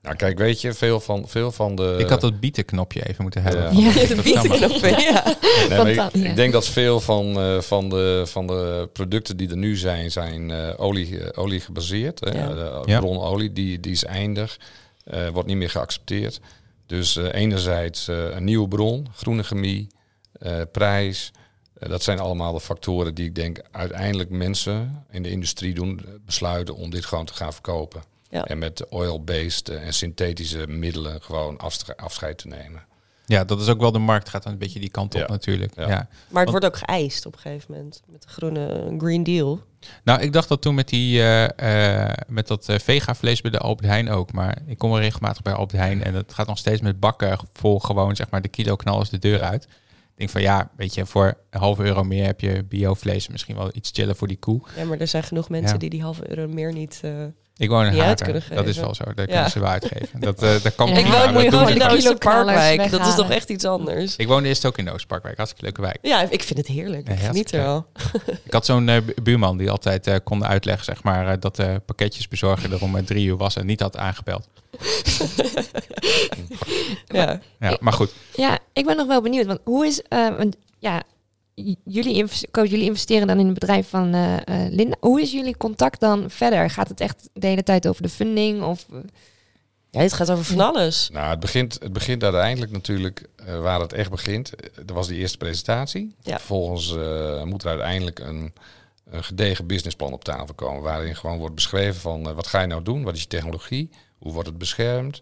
Nou, kijk, weet je, veel van, veel van de.
Ik had dat bietenknopje even moeten hebben.
Ja.
want dat
Ja,
is
dat
toch
biedt
jammer.
ik nog veel, ja.
Nee, maar ik,
want dan- ja.
ik denk dat veel van, eh, van, de, van de producten die er nu zijn, zijn eh, olie, eh, olie gebaseerd. Hè?
Ja.
De
Ja.
bronolie, die, die is eindig, eh, wordt niet meer geaccepteerd. Dus eh, enerzijds eh, een nieuwe bron, groene chemie, eh, prijs. Eh, dat zijn allemaal de factoren die ik denk uiteindelijk mensen in de industrie doen eh, besluiten om dit gewoon te gaan verkopen.
Ja.
En met oil-based eh, en synthetische middelen gewoon afstre- afscheid te nemen.
Ja, dat is ook wel de markt gaat dan een beetje die kant op
Ja.
natuurlijk. Ja.
Ja.
Maar het wordt ook geëist op een gegeven moment. Met de groene eh, Green Deal.
Nou, ik dacht dat toen met, die, eh, eh, met dat eh, vega-vlees bij de Albert Heijn ook. Maar ik kom er regelmatig bij Albert Heijn en dat gaat nog steeds met bakken vol gewoon zeg maar de kilo knallen de deur uit. denk van ja, weet je, voor een halve euro meer heb je biovlees. Misschien wel iets chillen voor die koe.
Ja, maar er zijn genoeg mensen
Ja.
die die halve euro meer niet... eh,
Ik woon in
Die uit kunnen
Haarlem. Dat
geven.
is wel zo. Daar kunnen ze wel uitgeven. Dat, eh dat kan
En
prima,
Ik
Ja,
woon
dat
nu
doen
gewoon
ze
in de
niet.
Kilo
Oostelijk
knallers
Parkwijk. Dat is
weghalen.
toch echt iets anders.
Ik woonde eerst ook in de Oostparkwijk. Hartstikke leuke wijk.
Ja, ik vind het heerlijk.
Ja,
Ik geniet er
hartstikke
wel.
Ik had zo'n eh, bu- buurman die altijd eh, kon uitleggen, zeg maar, eh, dat de pakketjesbezorger er om eh, drie uur was en niet had aangebeld.
Ja.
Ja, maar goed.
Ja, ik ben nog wel benieuwd. Want hoe is. eh, want ja, j- jullie, invest- coach, jullie investeren dan in het bedrijf van eh, eh, Linda. Hoe is jullie contact dan verder? Gaat het echt de hele tijd over de funding? Of, eh,
ja, het gaat over van alles.
Nou, het begint, het begint uiteindelijk natuurlijk eh, waar het echt begint. Eh, Dat was die eerste presentatie.
Ja.
Vervolgens eh, moet er uiteindelijk een, een gedegen businessplan op tafel komen. Waarin gewoon wordt beschreven van eh, wat ga je nou doen? Wat is je technologie? Hoe wordt het beschermd?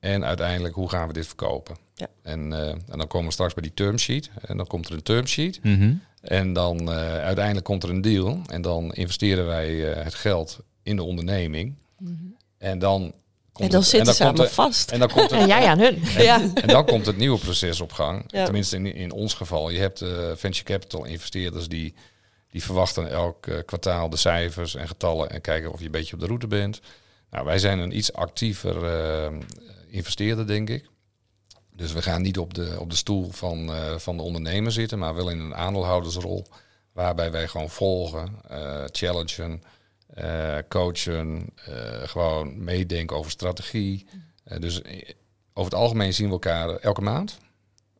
En uiteindelijk hoe gaan we dit verkopen?
Ja.
En, eh, en dan komen we straks bij die term sheet. En dan komt er een term sheet.
Mhm.
En dan eh, uiteindelijk komt er een deal. En dan investeren wij eh, het geld in de onderneming.
Mhm.
En dan...
En
komt
dan
het-
zitten ze
komt
allemaal
er-
vast.
en dan komt er,
en jij aan hun.
en,
Ja.
en dan komt het nieuwe proces op gang.
Ja.
Tenminste, in, in ons geval. Je hebt eh, venture capital investeerders die, die verwachten elk eh, kwartaal de cijfers en getallen en kijken of je een beetje op de route bent. Nou, wij zijn een iets actiever eh, investeerder, denk ik. Dus we gaan niet op de, op de stoel van, eh, van de ondernemer zitten, maar wel in een aandeelhoudersrol. Waarbij wij gewoon volgen, eh, challengen, eh, coachen, eh, gewoon meedenken over strategie. Eh, dus eh, over het algemeen zien we elkaar elke maand.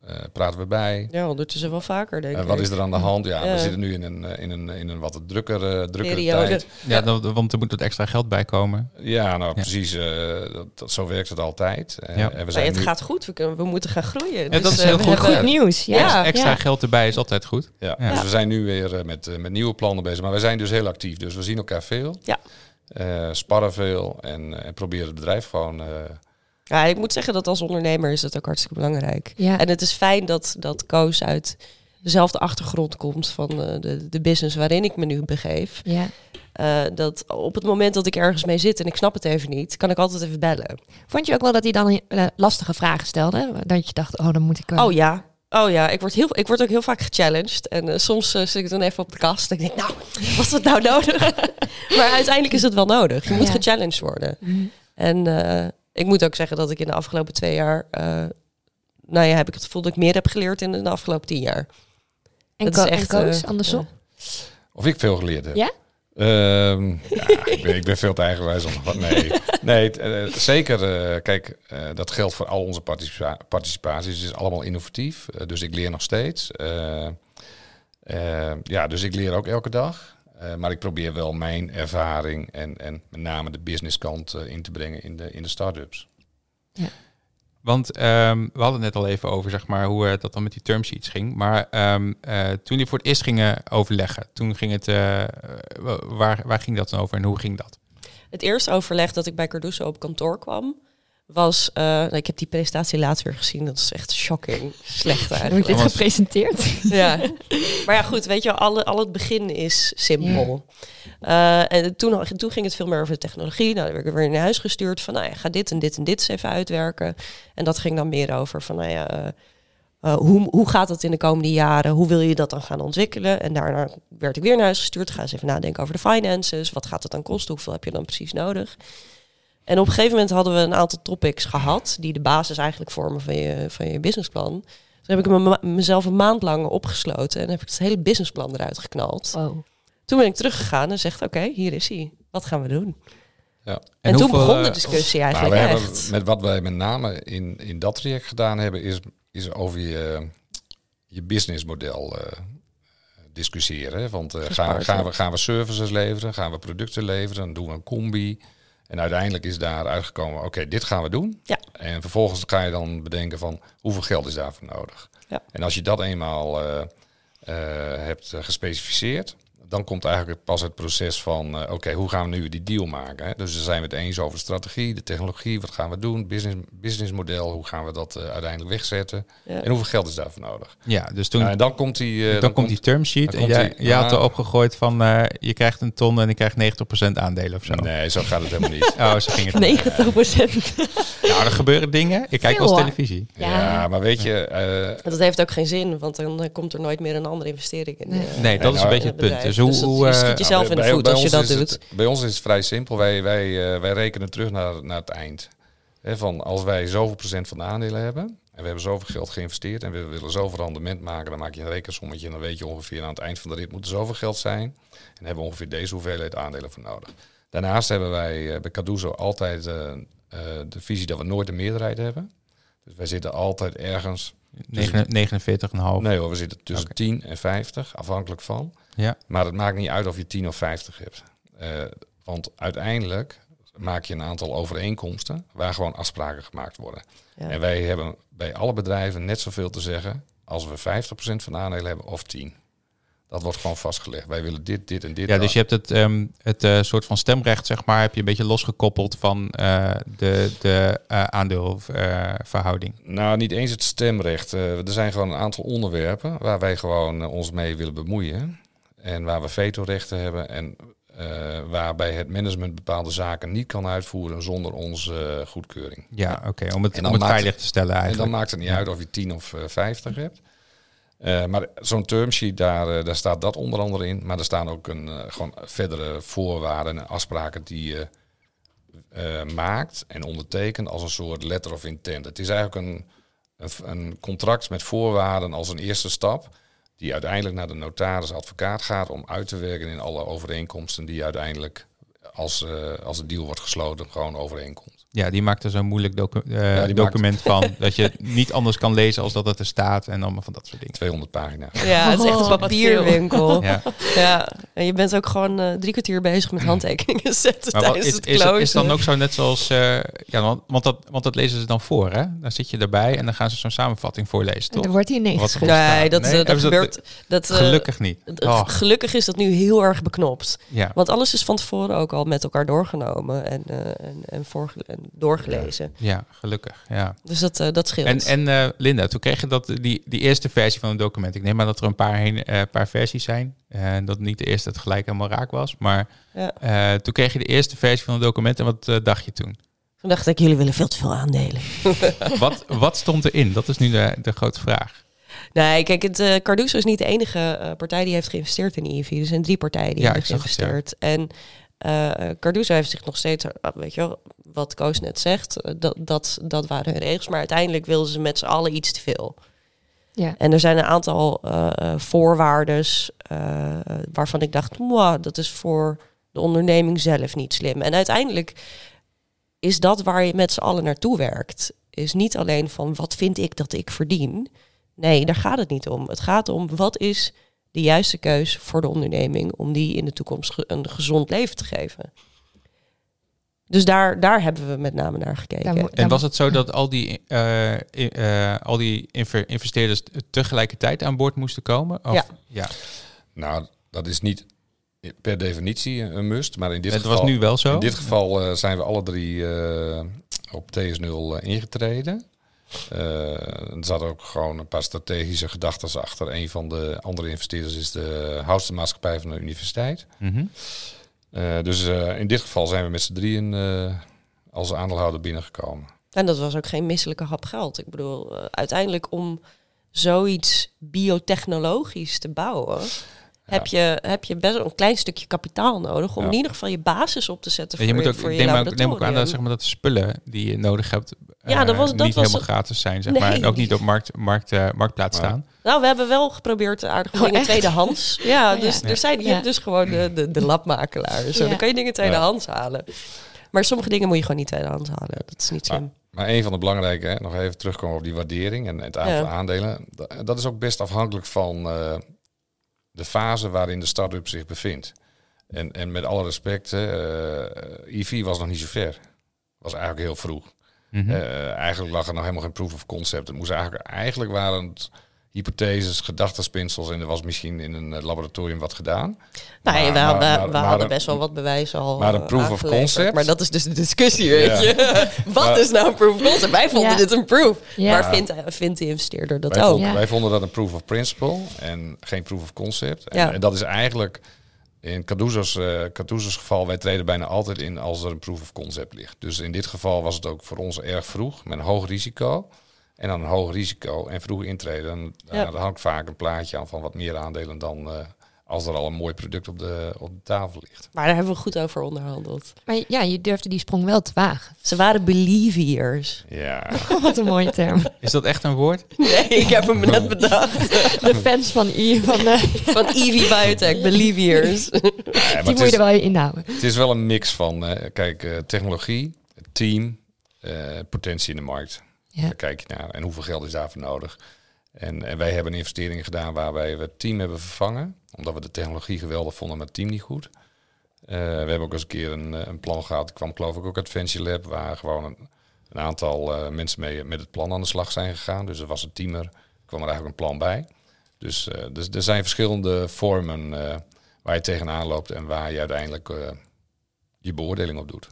Eh, praten we bij.
Ja, ondertussen wel vaker, denk ik.
Eh, wat is er aan de hand? Ja,
Ja.
we zitten nu in een, eh, in een, in een wat drukkere, drukkere
Periode.
tijd.
Ja, dat- want er moet wat extra geld bij komen.
Ja, nou precies. eh, dat, dat- zo werkt het altijd. Eh,
Ja.
en we
Maar
zijn
het
nu-
gaat goed, we, kunnen, we moeten gaan groeien.
Ja, dat is
eh,
heel
we
goed.
hebben-
Goed nieuws. Ja,
Dus
Ja.
extra
Ja.
geld erbij is altijd goed.
Ja,
Ja.
Dus we zijn nu weer eh, met, eh, met nieuwe plannen bezig. Maar wij zijn dus heel actief. Dus we zien elkaar veel.
Ja.
Eh, sparren veel. En, eh, en proberen het bedrijf gewoon... eh,
Ja, ik moet zeggen dat als ondernemer is dat ook hartstikke belangrijk.
Ja.
En het is fijn dat, dat Koos uit dezelfde achtergrond komt van eh, de, de business waarin ik me nu begeef.
Ja.
Eh, dat op het moment dat ik ergens mee zit en ik snap het even niet, kan ik altijd even bellen.
Vond je ook wel dat hij dan eh, lastige vragen stelde? Dat je dacht, oh, dan moet ik wel.
Oh ja. Oh ja, ik word, heel, ik word ook heel vaak gechallenged. En eh, soms eh, zit ik dan even op de kast. En ik denk, nou, was dat nou nodig? maar uiteindelijk is het wel nodig. Je moet
Ja. Mhm.
gechallenged worden. En eh, ik moet ook zeggen dat ik in de afgelopen twee jaar... eh, nou ja, heb ik het gevoel dat ik meer heb geleerd in de afgelopen tien jaar.
en,
dat
ko-
is
en
echt,
Koos,
eh,
andersom.
Of ik veel geleerd heb.
Ja?
Ehm, ja, ik, ben, ik ben veel te eigenwijs. Om, wat- nee, nee het, eh, zeker. eh, kijk, eh, dat geldt voor al onze participa- participaties. Het is allemaal innovatief. eh, dus ik leer nog steeds. Eh, eh, ja, dus ik leer ook elke dag. Eh, maar ik probeer wel mijn ervaring en, en met name de businesskant eh, in te brengen in de, in de start-ups.
Want ehm, we hadden het net al even over zeg maar, hoe eh, dat dan met die term sheets ging. Maar ehm, eh, toen jullie voor het eerst gingen overleggen, toen ging het, eh, eh, waar, waar ging dat dan over en hoe ging dat?
Het eerste overleg dat ik bij Carduso op kantoor kwam... was... eh, nou, ik heb die presentatie laatst weer gezien. Dat is echt shocking. Slecht
Hoe ik
eigenlijk.
dit
Thomas.
gepresenteerd?
Ja. Maar ja, goed, weet je, wel, alle, al het begin is simpel. Eh, en toen, toen ging het veel meer over de technologie. Nou, dan werd ik weer naar huis gestuurd van, nou ja, ga dit en dit en dit eens even uitwerken. En dat ging dan meer over van, nou ja, eh, eh, hoe, hoe gaat dat in de komende jaren? Hoe wil je dat dan gaan ontwikkelen? En daarna werd ik weer naar huis gestuurd. Ga eens even nadenken over de finances. Wat gaat het dan kosten? Hoeveel heb je dan precies nodig? En op een gegeven moment hadden we een aantal topics gehad... die de basis eigenlijk vormen van je, van je businessplan. Toen heb ik me- ma- mezelf een maand lang opgesloten en heb ik het hele businessplan eruit geknald.
Wow.
Toen ben ik teruggegaan en zegt: Oké, hier is hij. Wat gaan we doen?
Ja.
En, toen
hoeveel,
begon de
eh,
discussie
Maar
eigenlijk
nou, we hebben,
echt.
met wat wij met name in, in dat traject gedaan hebben, is, is over je, je businessmodel eh, discussiëren. hè. Want eh, gaan, we- gaan, we, gaan we services leveren, gaan we producten leveren, dan doen we een combi. En uiteindelijk is daar uitgekomen, oké, dit gaan we doen.
Ja.
En vervolgens ga je dan bedenken van, hoeveel geld is daarvoor nodig?
Ja.
En als je dat eenmaal eh, eh, hebt eh, gespecificeerd, dan komt eigenlijk pas het proces van, eh, oké, hoe gaan we nu die deal maken? Hè? Dus dan zijn we het eens over de strategie, de technologie, wat gaan we doen, business, businessmodel, hoe gaan we dat eh, uiteindelijk wegzetten
Ja.
en hoeveel geld is daarvoor nodig?
Ja, dus toen,
Nou, en dan komt die... eh,
dan, komt die term sheet
dan
en
komt
jij,
die-
jij had
ah.
erop gegooid van eh, je krijgt een ton en ik krijg 90% aandelen of zo.
Nee, zo gaat het helemaal niet.
Oh, zo ging het.
90
Nou, er gebeuren dingen. Ik kijk
Veel,
wel eens
hoor.
televisie.
Ja,
Ja.
maar weet je, eh,
En dat heeft ook geen zin, want dan eh, komt er nooit meer een andere investering in.
Nee.
eh,
Nee, dat
Nee,
is een
nou,
beetje het punt.
bedrijf.
Dus hoe...
Dus dat-
hoe,
je
eh,
schiet jezelf in de
bij-
voet
bij
als je
ons
dat
is het-
doet.
bij ons is het vrij simpel. Wij, wij, eh, wij rekenen terug naar, naar het eind. Hè, van als wij zoveel procent van de aandelen hebben en we hebben zoveel geld geïnvesteerd en we willen zoveel rendement maken, dan maak je een rekensommetje en dan weet je ongeveer aan het eind van de rit moet er zoveel geld zijn. En hebben we ongeveer deze hoeveelheid aandelen voor nodig. Daarnaast hebben wij eh, bij Caduzo altijd eh, eh, de visie dat we nooit een meerderheid hebben. Dus wij zitten altijd ergens
49,5.
Nee hoor, we zitten tussen
Oké.
10 en 50, afhankelijk van.
Ja.
Maar het maakt niet uit of je 10 of 50 hebt. Eh, want uiteindelijk maak je een aantal overeenkomsten waar gewoon afspraken gemaakt worden.
Ja.
En wij hebben bij alle bedrijven net zoveel te zeggen als we 50% van de aandelen hebben of 10. Dat wordt gewoon vastgelegd. Wij willen dit, dit en dit.
Ja, dus je hebt het, ehm, het eh, soort van stemrecht, zeg maar, heb je een beetje losgekoppeld van eh, de, de eh, aandeelverhouding.
Nou, niet eens het stemrecht. Eh, er zijn gewoon een aantal onderwerpen waar wij gewoon eh, ons mee willen bemoeien. En waar we vetorechten hebben. En eh, waarbij het management bepaalde zaken niet kan uitvoeren zonder onze eh, goedkeuring.
ja, oké, om het,
En dan
om het
maakt-
veilig te stellen
En dan
eigenlijk.
maakt het niet uit of je 10 of eh, 50 hebt. Eh, maar zo'n termsheet, daar, eh, daar staat dat onder andere in. Maar er staan ook een, eh, gewoon verdere voorwaarden en afspraken die je eh, maakt en ondertekent als een soort letter of intent. Het is eigenlijk een, een, v- een contract met voorwaarden als een eerste stap. Die uiteindelijk naar de notaris-advocaat gaat om uit te werken in alle overeenkomsten die uiteindelijk als, eh, als de deal wordt gesloten gewoon overeenkomt.
Ja, die maakt er zo'n moeilijk docu- eh,
Ja, die
document van, dat je het niet anders kan lezen als dat het er staat en allemaal van dat soort dingen.
200 pagina's.
Ja, het is echt
Oh,
een
wat
papierwinkel. ja.
Ja.
en je bent ook gewoon eh, drie kwartier bezig met handtekeningen zetten
Maar wat,
tijdens
is,
het
is,
closen.
is dan ook zo net zoals, eh, ja, want, want, dat, want dat lezen ze dan voor, hè? Dan zit je erbij en dan gaan ze zo'n samenvatting voorlezen,
Er
toch?
wordt hier
Wat-
niks.
Nee, dat,
Nee,
eh, dat
hebben ze dat-
gebeurt... Dat, eh,
Gelukkig niet.
d-
Oh,
Gelukkig is dat nu heel erg beknopt.
ja.
Want alles is van tevoren ook al met elkaar doorgenomen en, eh, en, en, voorge- en doorgelezen.
ja, gelukkig, ja.
Dus dat, eh, dat scheelt.
En, en eh, Linda, toen kreeg je dat, die, die eerste versie van het document. Ik neem aan dat er een paar, heen, eh, paar versies zijn. Eh, En dat niet de eerste het gelijk helemaal raak was. Maar
Ja.
eh, toen kreeg je de eerste versie van het document. En wat eh, dacht je toen?
Toen dacht ik, jullie willen veel te veel aandelen.
Wat, wat stond erin? Dat is nu de, de grote vraag.
Nee, kijk, het, eh, Cardoso is niet de enige eh, partij die heeft geïnvesteerd in EV. Er zijn drie partijen die
Ja,
hebben
ik zag het, ja.
geïnvesteerd. En eh Cardoso heeft zich nog steeds, eh, weet je wel, wat Koos net zegt, eh, dat, dat, dat waren hun regels. Maar uiteindelijk wilden ze met z'n allen iets te veel.
Ja.
En er zijn een aantal eh voorwaarden waarvan ik dacht, "Mwah, dat is voor de onderneming zelf niet slim. En uiteindelijk is dat waar je met z'n allen naartoe werkt. Is niet alleen van wat vind ik dat ik verdien. Nee, daar gaat het niet om. Het gaat om wat is de juiste keus voor de onderneming om die in de toekomst ge- een gezond leven te geven. Dus daar, daar hebben we met name naar gekeken.
Daar moet-
En was het zo dat al die, eh, i- eh, al die inver- investeerders tegelijkertijd aan boord moesten komen? Of,
Ja.
ja.
Nou, dat is niet per definitie een must, maar in dit
Het
geval...
was nu wel zo.
In dit geval eh, zijn we alle drie eh, op TS0 eh, ingetreden. Eh, er zaten ook gewoon een paar strategische gedachten achter. Een van de andere investeerders is de houstermaatschappij van de universiteit.
Mhm.
Eh, dus eh, in dit geval zijn we met z'n drieën eh, als aandeelhouder binnengekomen.
En dat was ook geen misselijke hap geld. Ik bedoel, eh, uiteindelijk om zoiets biotechnologisch te bouwen, heb, je, heb je best wel een klein stukje kapitaal nodig om
Ja,
in ieder geval je basis op te zetten
En
voor
je moet
je,
ook,
voor
ik
je
neem, ook,
laboratorium.
neem ook aan dat, zeg maar, dat de spullen die je nodig hebt
Ja, dat
eh,
was- dat was
niet helemaal
het-
gratis zijn. Zeg
Nee.
maar. En ook niet op markt, markt, eh, marktplaats
Maar-
staan.
Nou, we hebben wel geprobeerd aardig
Oh,
dingen
echt? Oh,
tweedehands. Ja,
Ja.
dus er zijn je
Ja.
hebt dus gewoon de, de, de labmakelaar. Zo,
Ja.
dan kan je dingen tweedehands halen. Maar sommige dingen moet je gewoon niet tweedehands halen. Dat is niet slim.
Maar een van de belangrijke, hè, nog even terugkomen op die waardering en het aantal
Ja.
aandelen. Da- Dat is ook best afhankelijk van eh, de fase waarin de start-up zich bevindt. En, en met alle respect, eh IV was nog niet zo ver. Was eigenlijk heel vroeg.
Mhm.
Eh, eigenlijk lag er nog helemaal geen proof of concept. Het moest eigenlijk, eigenlijk waren het hypotheses, gedachtenspinsels. En er was misschien in een eh, laboratorium wat gedaan.
Nou,
Maar-
ja, we,
maar-
hadden-
maar-
we
maar-
hadden best wel wat bewijs al.
maar een
eh,
proof of
aangeleverd.
concept?
Maar dat is dus de discussie, weet
Ja.
je. wat
Maar-
is nou een proof of concept? Wij vonden
Ja.
dit een proof.
Ja.
Maar vindt, vindt de investeerder dat
Wij,
ook?
vonden,
Ja.
wij vonden dat een proof of principle en geen proof of concept. En,
Ja.
en dat is eigenlijk in Cardozo's, eh, Cardozo's geval, wij treden bijna altijd in als er een proof of concept ligt. Dus in dit geval was het ook voor ons erg vroeg, met een hoog risico. En dan een hoog risico en vroeg intreden. En, eh,
Ja.
daar hangt vaak een plaatje aan van wat meer aandelen dan eh, als er al een mooi product op de, op de tafel ligt.
Maar daar hebben we goed over onderhandeld.
Maar ja, je durfde die sprong wel te wagen.
Ze waren believers.
Ja,
Wat een mooie term.
Is dat echt een woord?
Nee, ik heb hem net bedacht.
De fans van I, van, eh,
Van Evie Biotech, believers.
ja, maar
die
het
moet je
is-
er wel in houden.
Het is wel een mix van, eh, kijk, eh, technologie, het team, eh, potentie in de markt.
Ja.
Daar kijk je naar. En hoeveel geld is daarvoor nodig? En, en wij hebben investeringen gedaan waarbij we het team hebben vervangen. Omdat we de technologie geweldig vonden, maar het team niet goed. Eh, we hebben ook eens een keer een, eh, een plan gehad. Ik kwam geloof ik ook uit Fancy Lab. Waar gewoon een, een aantal eh, mensen mee met het plan aan de slag zijn gegaan. Dus er was een teamer. kwam er eigenlijk een plan bij. Dus eh, dus er zijn verschillende vormen eh, waar je tegenaan loopt. En waar je uiteindelijk eh, je beoordeling op doet.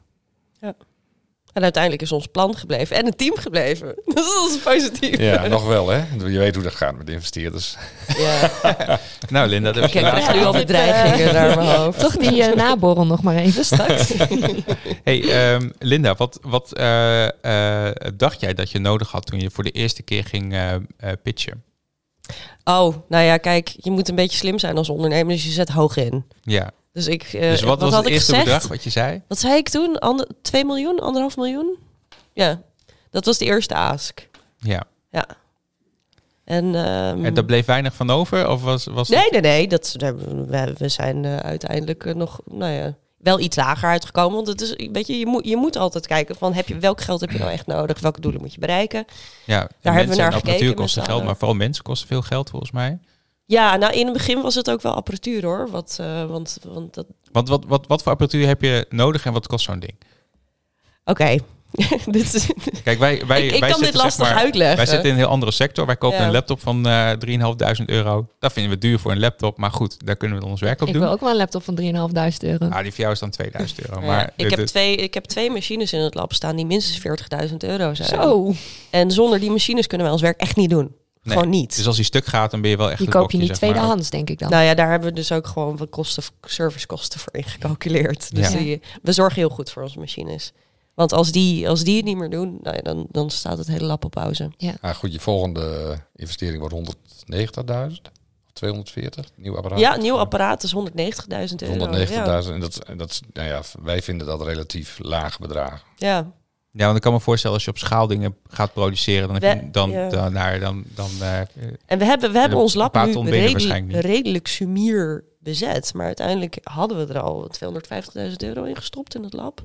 En uiteindelijk is ons plan gebleven en een team gebleven. Dus dat is positief.
Ja, nog wel hè. Je weet hoe dat gaat met investeerders.
Ja.
Nou, Linda, dat was
Ik krijg nu al
Dit,
bedreigingen naar mijn hoofd.
Toch die eh, naborrel nog maar even straks.
Hey, ehm, Linda, wat, wat eh, eh, dacht jij dat je nodig had toen je voor de eerste keer ging eh, eh, pitchen?
Oh, nou ja, kijk, je moet een beetje slim zijn als ondernemer, dus je zet hoog in.
Ja,
Dus ik, eh,
dus wat, was
had
het
ik
eerste
gezegd?
bedrag wat je zei?
Wat zei ik toen? Ander, 2 miljoen, anderhalf miljoen? Ja, dat was de eerste ask.
Ja.
Ja. En, ehm,
En daar bleef weinig van over? Of was, was
nee, nee, nee, dat, we, we zijn eh, uiteindelijk eh, nog, nou ja, wel iets lager uitgekomen. Want het is, weet je, je moet, je moet altijd kijken van, heb je, welk geld heb je nou echt nodig? Welke doelen moet je bereiken?
ja, en
we
mensen
naar
en apparatuur
gekeken met
kosten
z'n
geld,
allen.
maar vooral mensen kosten veel geld volgens mij.
Ja, nou, in het begin was het ook wel apparatuur hoor. Wat, eh, want, want dat
Want wat, wat, wat voor apparatuur heb je nodig en wat kost zo'n ding?
Oké. dit is,
Kijk, wij, wij,
Ik- ik
wij
kan
zitten,
dit lastig
zeg maar,
uitleggen.
Wij zitten in een heel andere sector. Wij kopen
Ja.
een laptop van eh 3.500 euro. Dat vinden we duur voor een laptop, maar goed, daar kunnen we ons werk op
Ik
doen.
wil ook wel een laptop van 3.500 euro.
Ah, die voor jou is dan 2000 euro.
Ja,
Oh, Maar
ik,
dit-
heb twee, ik heb twee machines in het lab staan die minstens 40.000 euro zijn.
Zo,
En zonder die machines kunnen wij ons werk echt niet doen.
Nee,
Gewoon niet.
Dus als die stuk gaat, dan ben je wel echt
die
het
koop je
bokje,
niet
zeg maar.
tweedehands, denk ik dan.
Nou ja, daar hebben we dus ook gewoon wat kosten, servicekosten voor ingecalculeerd. Dus
Ja.
die, we zorgen heel goed voor onze machines. Want als die, als die het niet meer doen, nou ja, dan, dan staat het hele lab op pauze.
Ah, goed, je volgende investering wordt 190.000 of 240, nieuw apparaat.
Ja, nieuw apparaat is 190.000 euro.
190.000
Ja.
en dat, en dat, is- nou ja, wij vinden dat relatief laag bedrag.
ja.
Ja, want ik kan me voorstellen als je op schaal dingen gaat produceren, dan heb je,
We-
dan,
ja.
dan, daar dan, dan eh,
En we hebben, we hebben ons
een
lab
paar
nu
ton ben je er
redelijk,
waarschijnlijk
redelijk sumier bezet. Maar uiteindelijk hadden we er al 250.000 euro in gestopt in het lab.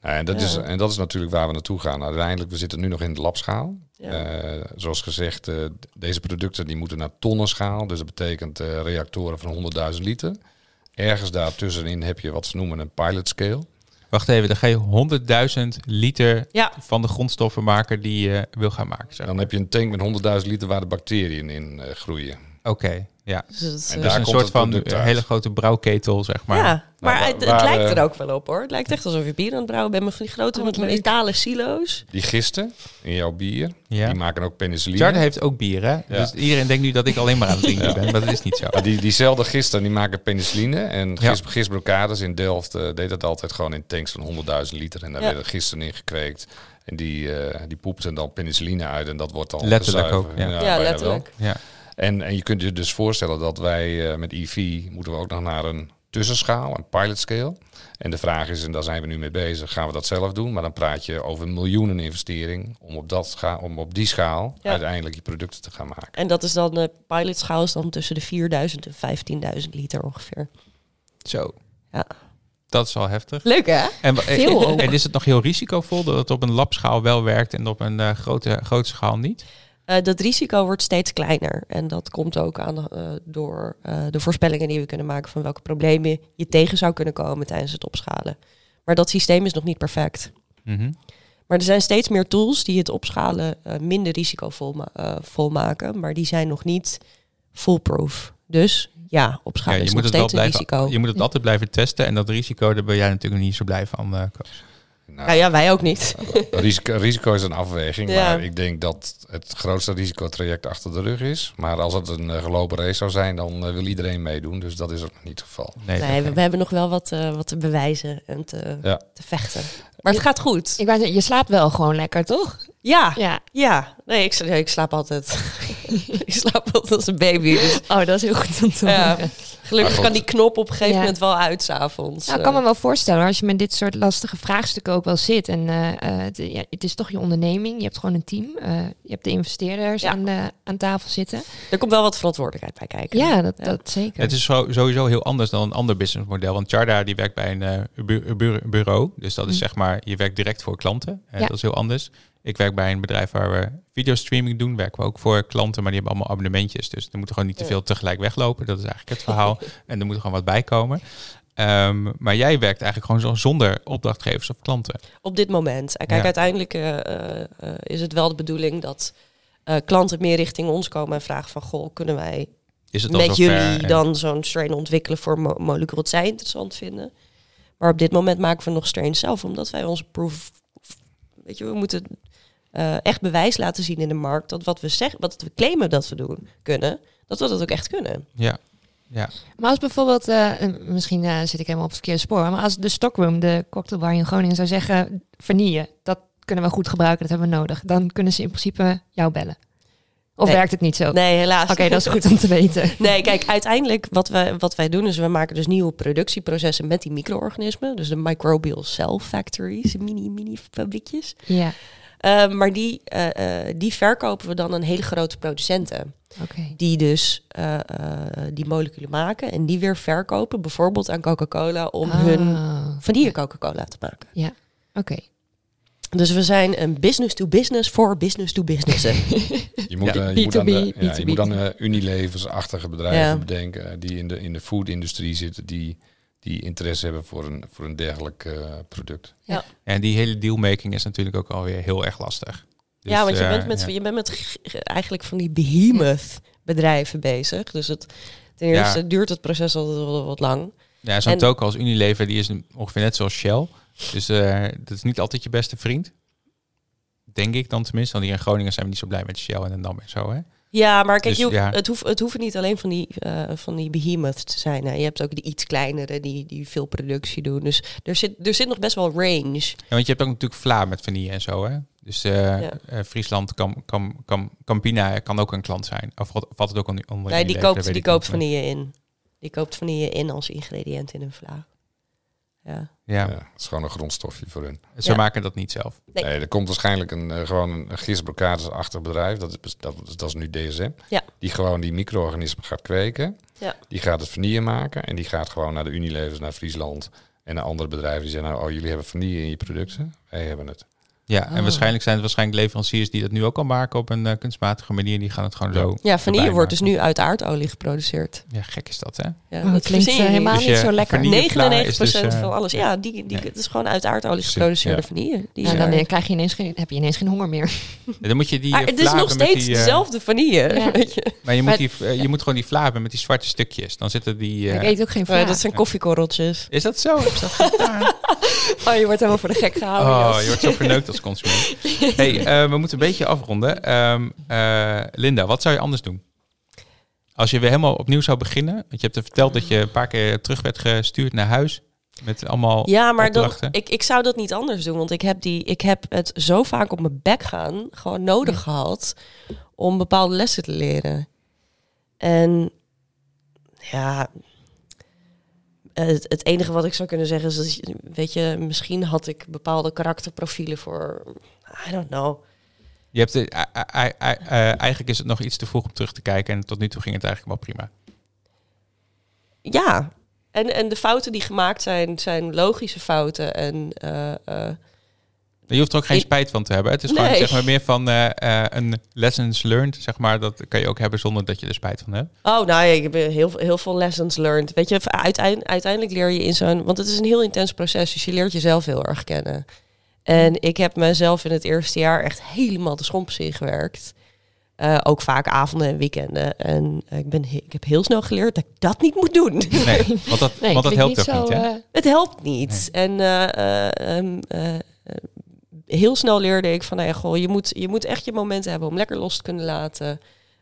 Nou, en, dat
Ja.
is, en dat is natuurlijk waar we naartoe gaan. Uiteindelijk, we zitten nu nog in de labschaal.
Ja.
Eh, zoals gezegd, eh, d- deze producten die moeten naar tonnenschaal. Dus dat betekent eh, reactoren van 100.000 liter. Ergens daartussenin heb je wat ze noemen een pilot scale.
wacht even, dan ga je 100.000 liter
Ja.
van de grondstoffen maken die je wil gaan maken. zeg.
En dan heb je een tank met 100.000 liter waar de bacteriën in eh, groeien.
Oké, ja.
Dus het, eh,
En
Dus
Daar
een
komt
soort
het
van
product uit. Nou,
hele grote brouwketel, zeg maar.
ja, maar
waar-
het, het
waar,
lijkt er
eh,
ook wel op hoor. Het lijkt echt alsof je bier aan het brouwen bent met van die grote
Oh, wat leuk.
metalen silo's.
Die gisten in jouw bier,
Ja.
die maken ook penicilline.
Jarden heeft ook bier, hè? Dus iedereen denkt nu dat ik alleen maar aan het drinken
Ja.
ben, maar dat is niet zo.
Maar die, diezelfde gisten die maken penicilline. En
Ja.
gis, gisbrocades in Delft eh, deed dat altijd gewoon in tanks van 100.000 liter. En daar
Ja.
werden gisten in gekweekt. En die, eh, die poepten dan penicilline uit en dat wordt dan
Letterlijk
gezuiverd.
ook, ja.
Ja,
bijna wel.
letterlijk.
Ja.
En, en je kunt je dus voorstellen dat wij eh, met IV moeten we ook nog naar een tussenschaal, een pilot scale. En de vraag is, en daar zijn we nu mee bezig, gaan we dat zelf doen? Maar dan praat je over miljoenen investering om op, dat scha- om op die schaal
Ja.
uiteindelijk je producten te gaan maken.
En dat is dan, de pilotschaal is dan tussen de 4000 en 15.000 liter ongeveer.
Zo.
Ja.
Dat is al heftig.
Leuk hè?
En, wa-
Veel ook.
en is het nog heel risicovol dat het op een labschaal wel werkt en op een eh, grote, grote schaal niet?
Eh, dat risico wordt steeds kleiner. En dat komt ook aan eh, door eh, de voorspellingen die we kunnen maken van welke problemen je tegen zou kunnen komen tijdens het opschalen. Maar dat systeem is nog niet perfect.
Mhm.
Maar er zijn steeds meer tools die het opschalen eh, minder risicovol ma- eh, vol maken. Maar die zijn nog niet foolproof. Dus ja,
Ja,
opschalen
je,
is
moet
nog
het wel
steeds een
blijven,
risico.
je moet het altijd blijven testen. En dat risico, daar ben jij natuurlijk niet zo blij van. eh, Koos.
Nou,
Nou ja, wij ook niet.
Risico, risico is een afweging,
Ja.
maar ik denk dat het grootste risicotraject achter de rug is. Maar als het een eh, gelopen race zou zijn, dan eh, wil iedereen meedoen. Dus dat is ook nog niet het geval.
Nee,
Nee, we,
dat-
we hebben nog wel wat, eh, wat te bewijzen en te,
Ja.
te vechten. Maar het gaat goed.
Ik wou zeggen, je slaapt wel gewoon lekker, toch?
Ja,
Ja.
ja. Nee, ik, sla- nee, ik slaap altijd. ik slaap altijd als een baby. Dus,
Oh, dat is heel goed om te
ja.
horen.
Maar
Gelukkig
goed.
kan die knop op een gegeven
Ja.
moment wel uit s'avonds.
Nou, ik kan me wel voorstellen, hoor, als je met dit soort lastige vraagstukken ook wel zit. En eh, eh, het, ja, het is toch je onderneming, je hebt gewoon een team. eh, je hebt de investeerders
Ja.
aan, de, aan tafel zitten.
Er komt wel wat verantwoordelijkheid bij kijken.
Ja, dat,
Ja.
dat zeker.
Het is zo- sowieso heel anders dan een ander businessmodel. Want Charda die werkt bij een eh, bu- bu- bureau. Dus dat is
Mhm.
Hm.
zeg maar, je werkt direct voor klanten. En
Ja.
Dat is heel anders. Ik werk bij een bedrijf waar we videostreaming doen. Werken we ook voor klanten, maar die hebben allemaal abonnementjes. Dus er moet gewoon niet te veel tegelijk weglopen. Dat is eigenlijk het verhaal. en er moet gewoon wat bij komen. Ehm, maar jij werkt eigenlijk gewoon zo zonder opdrachtgevers of klanten.
Op dit moment. En Kijk,
Ja.
uiteindelijk eh, eh, eh, is het wel de bedoeling dat eh, klanten meer richting ons komen en vragen van... Goh, kunnen wij
Is het al
met
zover?
jullie
En-
dan zo'n strain ontwikkelen voor mo- moleculen wat zij interessant vinden. Maar op dit moment maken we nog strains zelf, omdat wij onze proof... Weet je, we moeten eh, echt bewijs laten zien in de markt dat wat we zeggen, wat we claimen dat we doen kunnen, dat we dat ook echt kunnen.
Ja. ja.
Maar als bijvoorbeeld, eh, eh, misschien eh, zit ik helemaal op het verkeerde spoor, maar als de Stockroom, de cocktailbar in Groningen, zou zeggen, vanille, dat kunnen we goed gebruiken, dat hebben we nodig. Dan kunnen ze in principe jou bellen. Of
Nee.
werkt het niet zo?
Nee, helaas.
Oké, dat is goed om te weten.
Nee, kijk, uiteindelijk wat wij, wat wij doen is we maken dus nieuwe productieprocessen met die micro-organismen. Dus de microbial cell factories, mini, mini fabriekjes.
Ja,
Eh, maar die, eh, eh, die verkopen we dan aan hele grote producenten.
oké.
die dus eh, eh, die moleculen maken en die weer verkopen, bijvoorbeeld aan Coca-Cola, om
Ah,
hun vanille Coca-Cola te maken.
Ja, oké.
Dus we zijn een business to business voor business to businessen.
Je moet,
Ja.
eh, je moet aan de,
B2B,
ja, je moet aan
B2B.
de Unilevers-achtige bedrijven
Ja.
bedenken eh, die in de, in de food-industrie zitten, die, die interesse hebben voor een, voor een dergelijk eh, product.
En die hele dealmaking is natuurlijk ook alweer heel erg lastig. Dus,
ja, want je
eh,
bent met,
ja.
je bent met g- g- eigenlijk van die behemoth bedrijven bezig. Dus het, ten
Ja.
eerste duurt het proces altijd wel wat lang.
Ja, zo'n
En-
token als Unilever, die is een- ongeveer net zoals Shell. Dus eh, dat is niet altijd je beste vriend. Denk ik dan tenminste. Want hier in Groningen zijn we niet zo blij met Shell en de Dam en zo, hè?
Ja, maar kijk,
Dus
je hoeft-
ja.
het, hoeft, het hoeft niet alleen van die, eh van die behemoth te zijn. hè. Je hebt ook die iets kleinere die, die veel productie doen. Dus er zit, er zit nog best wel range.
Ja, want je hebt ook natuurlijk Vla met vanille en zo, hè? Dus eh,
Ja.
eh, Friesland, Kam, Kam, Kam, Campina kan ook een klant zijn. Of valt valt het ook onder
Nee,
onder
die
Unilever? Dat
koopt,
weet
die
ik niet,
koopt
maar-
vanille in. Die koopt vanille in als ingrediënt in een vla. Ja.
Ja,
Ja. het is gewoon een grondstofje voor hun.
ze
Ja.
maken dat niet zelf.
Nee.
Nee. er komt waarschijnlijk een, eh, gewoon een gisbrocades-achtig bedrijf, dat is, dat, is- dat is nu DSM,
Ja.
die gewoon die micro-organismen gaat kweken.
Ja.
Die gaat het vanille maken en die gaat gewoon naar de Unilevers, naar Friesland en naar andere bedrijven. Die zeggen, nou, oh, jullie hebben vanille in je producten, wij hebben het.
Ja,
Ah.
en waarschijnlijk zijn het waarschijnlijk leveranciers die dat nu ook al maken op een eh, kunstmatige manier. Die gaan het gewoon
Ja.
zo.
ja, vanille
erbij
wordt dus
maken.
nu uit aardolie geproduceerd.
Ja, gek is dat, hè?
Ja,
Oh, dat klinkt
verzin
eh,
je niet.
helemaal
Dus
niet
je
zo lekker.
vanille- is
99%
dus, eh,
van alles. Ja, die, die,
nee.
het is gewoon uit aardolie
Precies,
geproduceerde
ja.
vanille. Die is
En dan
daar.
eh, krijg je ineens geen, heb je ineens geen honger meer.
Ja, dan moet je die.
Maar
eh,
het
vla
is nog
hebben met
steeds
die, eh,
dezelfde vanille.
Ja.
Weet je?
Maar je moet,
Maar-
die, eh, je moet gewoon die vla hebben met die zwarte stukjes. Dan zitten die. eh,
Ik eet ook geen
Maar
vla.
Oh dat zijn koffiekorreltjes.
Is dat zo? Is dat gedaan?
Oh, je wordt helemaal voor de gek gehouden.
Oh,
Jos.
je wordt zo verneukt als consument. hey, eh, we moeten een beetje afronden. Ehm, eh, Linda, wat zou je anders doen? Als je weer helemaal opnieuw zou beginnen. Want je hebt er verteld dat je een paar keer terug werd gestuurd naar huis. Met allemaal
Ja, maar dan,
opdrachten.
ik, ik zou dat niet anders doen. Want ik heb, die, ik heb het zo vaak op mijn bek gaan, gewoon nodig gehad om bepaalde lessen te leren. En ja, het, het enige wat ik zou kunnen zeggen is, dat, je- weet je, misschien had ik bepaalde karakterprofielen voor, I don't know.
Je hebt, eh, eh, eh, eh, eh, eigenlijk is het nog iets te vroeg om terug te kijken. En tot nu toe ging het eigenlijk wel prima.
Ja, en, en de fouten die gemaakt zijn, zijn logische fouten. En eh, eh,
Je hoeft er ook geen
Ik-
spijt van te hebben. Het is gewoon
Nee.
zeg maar, meer van eh, eh, een lessons learned. Zeg maar, dat kan je ook hebben zonder dat je er spijt van hebt.
Oh, nou ja, ik heb heel, heel veel lessons learned. Weet je, uiteind- uiteindelijk leer je in zo'n... Want het is een heel intens proces, dus je leert jezelf heel erg kennen. En ik heb mezelf in het eerste jaar echt helemaal de schompers ingewerkt. Eh, ook vaak avonden en weekenden. En eh, ik, ben, he- ik heb heel snel geleerd dat ik dat niet moet doen.
Nee, want dat,
Nee,
want dat helpt
klinkt
ook niet, hè?
eh,
Het helpt niet. En eh, eh, ehm, eh, eh, heel snel leerde ik van, nou ja, goh, je, moet, je moet echt je momenten hebben om lekker los te kunnen laten.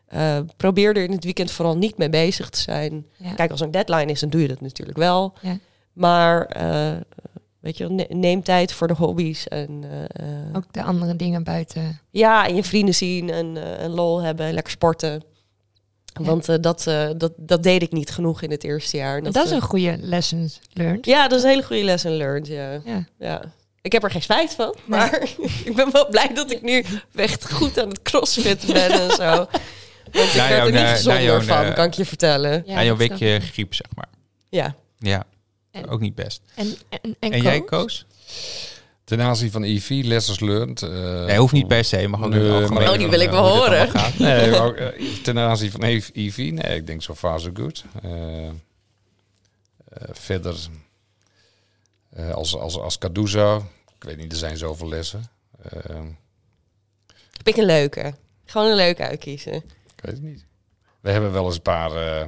Eh, probeer er in het weekend vooral niet mee bezig te zijn.
ja.
Kijk, als er een deadline is, dan doe je dat natuurlijk wel.
Ja.
Maar eh, weet je, wel, ne- neem tijd voor de hobby's. En, eh, eh,
Ook de andere dingen buiten.
Ja, en je vrienden zien en, eh, een lol hebben en lekker sporten.
Ja.
Want eh, dat, eh, dat, dat deed ik niet genoeg in het eerste jaar. En
Dat, is
eh,
een goede lessons learned.
Ja, dat is een hele goede lesson learned, ja.
Ja.
Ja. Ik heb er geen spijt van, maar ik ben wel blij dat ik nu echt goed aan het crossfit ben en zo. Want ik werd
Na jouw,
er niet
eh, na
gezonder
jouw,
van,
eh,
kan ik je vertellen.
Ja,
Na jouw
dat is
weekje griep, zeg maar.
Ja.
Ja,
En-
ook niet best.
ook- En, en, en,
En jij,
Koos?
Koos?
Ten aanzien van IV, lessons learned. eh,
Nee, hoeft niet per se, mag ook in het
Nee,
algemeen.
maar-
Oh, die wil ik
eh,
wel
hoe dit
horen.
allemaal gaat.
Nee, maar ook, eh, ten aanzien van IV, nee, ik denk zo far so good. Eh, eh, verder, eh, als, als, als Caduzo, ik weet niet, er zijn zoveel lessen. Eh,
Pik een leuke. Gewoon een leuke uitkiezen.
ik weet het niet. We hebben wel eens een paar eh,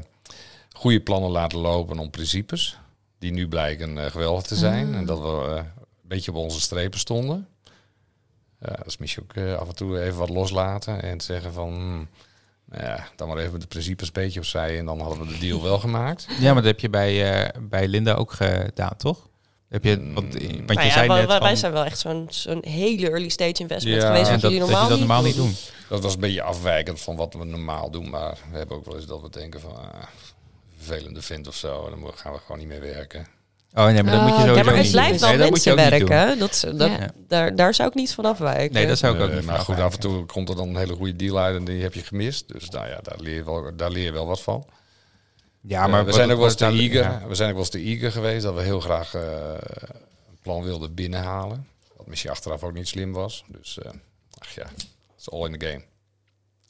goede plannen laten lopen om principes, die nu blijken eh, geweldig te zijn. En dat we eh, een beetje op onze strepen stonden. Ja, dus misschien ook eh, af en toe even wat loslaten en zeggen van... hmm, nou ja, dan maar even de principes een beetje opzij en dan hadden we de deal wel gemaakt.
Ja, maar dat heb je bij, eh, bij Linda ook gedaan, toch? Heb je, want, want je
Nou ja,
zei
wa-
net
wa-
van,
wij zijn wel echt zo'n zo'n hele early stage investment
Ja,
geweest.
ja,
Wat
dat, dat
jullie
je
normaal,
dat normaal niet
niet
doen.
Dat was een beetje afwijkend van wat we normaal doen. Maar we hebben ook wel eens dat we denken van... Ah, vervelende vindt of zo, dan mo- gaan we gewoon niet meer werken.
Oh nee, maar dat
Oh,
moet je
ja,
sowieso
Ja, maar
niet
het blijft wel
doen. Nee, dat moet je
mensen
ook niet doen.
werken. Dat, is- dat,
Ja.
daar, daar zou ik niet van afwijken.
Nee, dat zou ik ook
Eh,
niet
maar
van
goed, af en
afwijken.
toe komt er dan een hele goede deal uit en die heb je gemist. Dus nou ja, daar leer je wel, daar leer je wel wat van.
Ja,
Eh,
maar
we
wat-
zijn ook wel eens
wat
te
daar-
eager.
ja.
We zijn ook wel eens te eager geweest dat we heel graag eh, een plan wilden binnenhalen. Wat misschien achteraf ook niet slim was. Dus eh, ach ja, it's all in the game.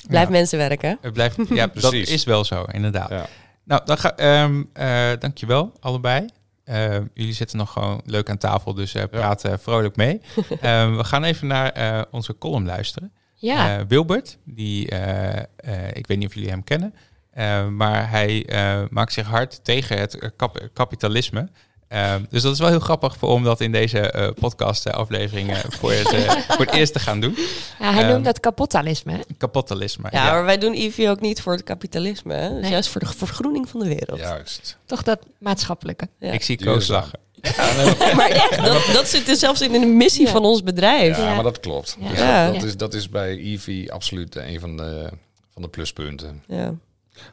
Blijf mensen werken.
Het blijft, ja, dat
Precies.
is wel zo, inderdaad.
Ja.
Nou, dan ga, ehm eh dankjewel allebei. Ehm, jullie zitten nog gewoon leuk aan tafel, dus eh praten vrolijk mee. Ehm, we gaan even naar eh, onze column luisteren.
Ja,
Eh, Wilbert, die, eh, eh, ik weet niet of jullie hem kennen, eh, maar hij eh, maakt zich hard tegen het eh, kap- kapitalisme. Eh, dus dat is wel heel grappig voor om dat in deze eh podcast eh, aflevering eh, voor, het, eh, voor het eerst te gaan doen.
Ja, hij
ehm,
noemt dat kapitalisme. hè?
Kapitalisme.
Ja, maar wij doen IV ook niet voor het kapitalisme. Hè? Dus
Nee.
juist voor de vergroening van de wereld.
Juist.
Toch dat maatschappelijke.
Ja.
Ik zie
Duurzaam.
Koos lachen.
Maar echt, dat, dat zit er zelfs in de missie
Ja.
van ons bedrijf.
Ja,
Ja.
maar dat klopt.
Ja.
Dus
Ja.
dat, dat
Ja.
is, dat is bij EV absoluut eh, een van de, van de pluspunten.
Ja.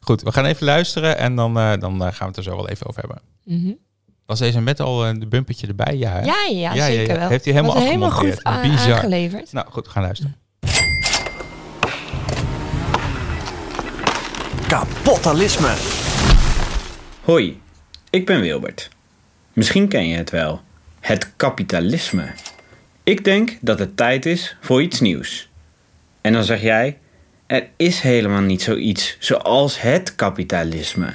Goed, we gaan even luisteren en dan, eh, dan eh, gaan we het er zo wel even over hebben.
Mhm.
Was deze met al eh, de bumpertje erbij? Ja, hè?
Ja, ja,
ja,
zeker
ja.
wel.
Heeft hij helemaal
Was helemaal
afgemonteerd.
goed a-
Bizar.
aangeleverd.
Nou goed, we gaan luisteren.
Kapotalisme.
Hoi, ik ben Wilbert. Misschien ken je het wel. Het kapitalisme. Ik denk dat het tijd is voor iets nieuws. En dan zeg jij: er is helemaal niet zoiets zoals het kapitalisme.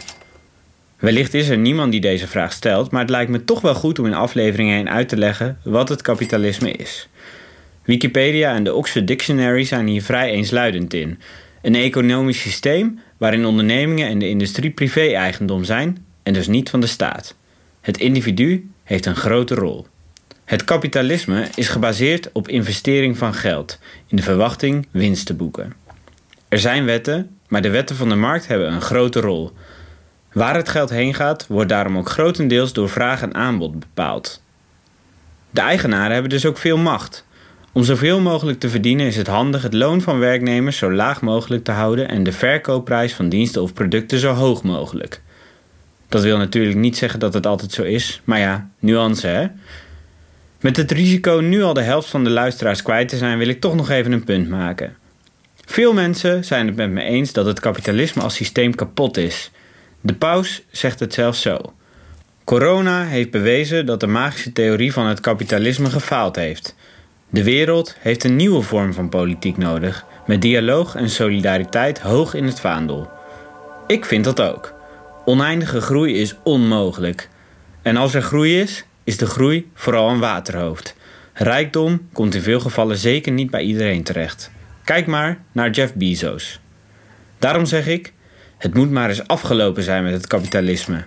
Wellicht is er niemand die deze vraag stelt, maar het lijkt me toch wel goed om in afleveringen heen uit te leggen wat het kapitalisme is. Wikipedia en de Oxford Dictionary zijn hier vrij eensluidend in. Een economisch systeem waarin ondernemingen en de industrie privé-eigendom zijn en dus niet van de staat. Het individu heeft een grote rol. Het kapitalisme is gebaseerd op investering van geld in de verwachting winst te boeken. Er zijn wetten, maar de wetten van de markt hebben een grote rol. Waar het geld heen gaat, wordt daarom ook grotendeels door vraag en aanbod bepaald. De eigenaren hebben dus ook veel macht. Om zoveel mogelijk te verdienen is het handig het loon van werknemers zo laag mogelijk te houden en de verkoopprijs van diensten of producten zo hoog mogelijk. Dat wil natuurlijk niet zeggen dat het altijd zo is, maar ja, nuance hè. Met het risico nu al de helft van de luisteraars kwijt te zijn, wil ik toch nog even een punt maken. Veel mensen zijn het met me eens dat het kapitalisme als systeem kapot is. De paus zegt het zelfs zo. Corona heeft bewezen dat de magische theorie van het kapitalisme gefaald heeft. De wereld heeft een nieuwe vorm van politiek nodig, met dialoog en solidariteit hoog in het vaandel. Ik vind dat ook. Oneindige groei is onmogelijk. En als er groei is, is de groei vooral een waterhoofd. Rijkdom komt in veel gevallen zeker niet bij iedereen terecht. Kijk maar naar Jeff Bezos. Daarom zeg ik, het moet maar eens afgelopen zijn met het kapitalisme.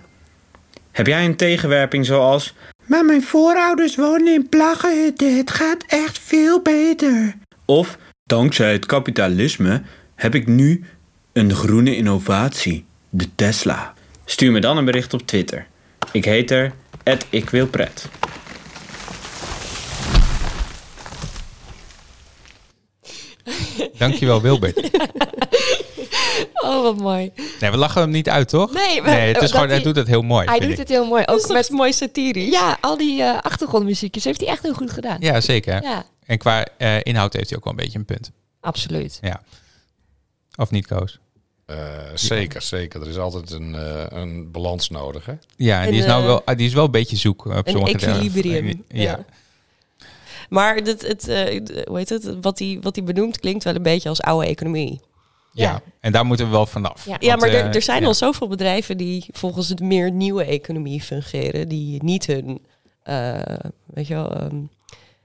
Heb jij een tegenwerping zoals... Maar mijn voorouders wonen in plaggenhutten, het gaat echt veel beter. Of, dankzij het kapitalisme heb ik nu een groene innovatie, de Tesla. Stuur me dan een bericht op Twitter. Ik heet er, ikwilpret.
Dankjewel, Wilbert.
Oh, wat mooi.
Nee, we lachen hem niet uit, toch?
Nee, maar-
het is
dat
gewoon, hij
hij-
doet het heel mooi.
Hij
vind
doet
ik.
het heel mooi.
Dat is
Ook
toch
met
mooi satirisch?
ja, al die eh achtergrondmuziekjes heeft hij echt heel goed gedaan.
Ja, zeker.
Ja,
En qua eh, inhoud heeft hij ook wel een beetje een punt.
absoluut.
Ja. Of niet, Koos?
Eh, zeker, zeker. Er is altijd een, eh, een balans nodig. Hè?
Ja, en,
En,
die, is nou
eh,
wel, ah, die is wel een beetje zoek. eh, Op
Een
sommige delen.
equilibrium.
Ja.
Maar het, het, eh, d- hoe heet het? Wat, die, wat die benoemt klinkt wel een beetje als oude economie.
Ja.
Ja.
en daar moeten we wel vanaf.
Ja.
Want,
Ja, maar
eh,
er, er zijn
ja.
al zoveel bedrijven die volgens het meer nieuwe economie fungeren. Die niet hun, eh, weet je wel, ehm,
Hun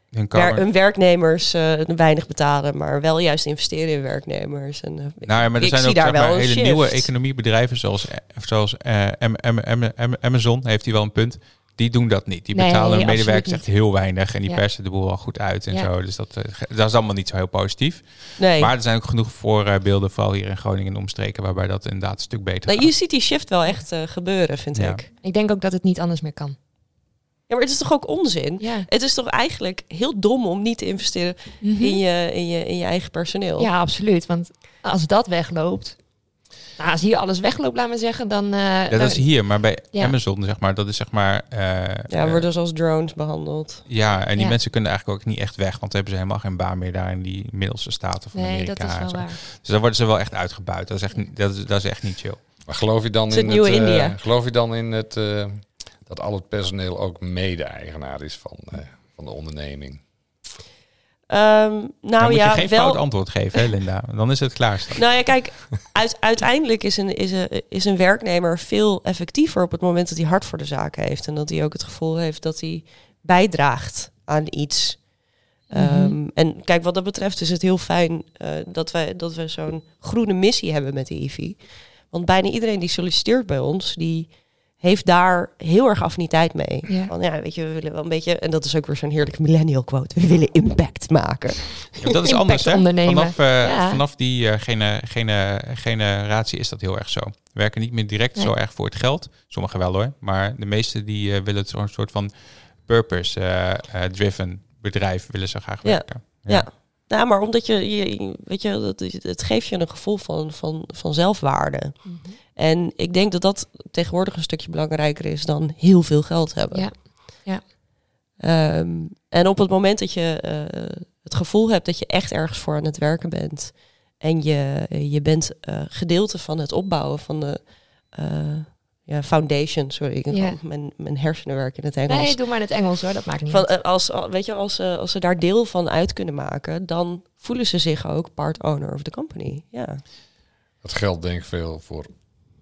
wer-
kamer.
hun werknemers eh, weinig betalen, maar wel juist investeren in werknemers. En, eh, ik-
Nou ja, maar er
ik
zijn
zie
ook
daar
zeg maar,
wel een
hele
shift.
nieuwe economiebedrijven zoals, eh, zoals eh, Am- Am- Am- Am- Amazon, heeft hij wel een punt. Die doen dat niet. Die
Nee,
betalen hun
absoluut
medewerkers
niet.
echt heel weinig en die
Ja.
persen de boel al goed uit en
Ja.
zo. Dus dat, eh, ge- dat is allemaal niet zo heel positief.
Nee.
Maar er zijn ook genoeg voorbeelden, vooral hier in Groningen en omstreken, waarbij dat inderdaad een stuk beter
Nou,
gaat.
je ziet die shift wel echt eh, gebeuren, vind
Ja.
ik.
Ik denk ook dat het niet anders meer kan.
Ja, maar het is toch ook onzin?
Ja, Mhm.
Het is toch eigenlijk heel dom om niet te investeren in, je, in, je, in je eigen personeel?
ja absoluut. Want als dat wegloopt... Nou, als hier alles wegloopt, laat maar zeggen, dan... eh,
Ja, dat is
dan-
hier, maar bij
Ja.
Amazon, zeg maar, dat is zeg maar... eh,
Ja,
eh,
we worden zoals drones behandeld.
ja, en die
Ja.
mensen kunnen eigenlijk ook niet echt weg, want dan hebben ze helemaal geen baan meer daar in die middelste staten van
Nee,
Amerika.
dat is
en
wel
zo.
waar.
Dus dan worden ze wel echt uitgebuit. Dat is echt, niet- dat is, dat is echt niet chill.
Maar geloof je dan
Het is
in
het nieuwe
het, eh,
India.
geloof je dan in het eh, dat al het personeel ook mede-eigenaar is van, eh, van de onderneming?
Ehm,
Dan
nou
moet
ja,
je geen
wel.
fout antwoord geven, hè, Linda. Dan is het klaarstaan.
Nou ja, kijk, uit- uiteindelijk is een, is, een, is een werknemer veel effectiever op het moment dat hij hart voor de zaak heeft. En dat hij ook het gevoel heeft dat hij bijdraagt aan iets.
Mhm.
Ehm, En kijk, wat dat betreft is het heel fijn eh, dat wij, dat wij zo'n groene missie hebben met de IVI. Want bijna iedereen die solliciteert bij ons, die heeft daar heel erg affiniteit mee.
Ja.
Van ja, weet je, we willen wel een beetje, en dat is ook weer zo'n heerlijke millennial quote, we willen impact maken.
Ja, dat is anders, hè?
ondernemen.
Vanaf, eh,
Ja.
vanaf die eh, gene, gene, generatie is dat heel erg zo. We werken niet meer direct zo
Nee.
erg voor het geld. Sommigen wel hoor. Maar de meesten die eh, willen zo'n soort van purpose-driven bedrijf willen ze graag
Ja.
werken.
Ja. Nou, maar omdat je, je weet je, dat, is- het geeft je een gevoel van, van, van zelfwaarde.
Mhm.
En ik denk dat dat tegenwoordig een stukje belangrijker is dan heel veel geld hebben.
Ja. Ja.
Ehm, en op het moment dat je eh, het gevoel hebt dat je echt ergens voor aan het werken bent. En je, je bent eh, gedeelte van het opbouwen van de eh, ja, foundation. Sorry, ik
Ja.
mijn, mijn hersenen werken in het Engels.
Nee, doe maar in het Engels hoor, dat maakt niet
Van,
uit.
eh, als, al- weet je, als, eh, als ze daar deel van uit kunnen maken, dan voelen ze zich ook part owner of the company. Ja,
Dat geldt denk ik veel voor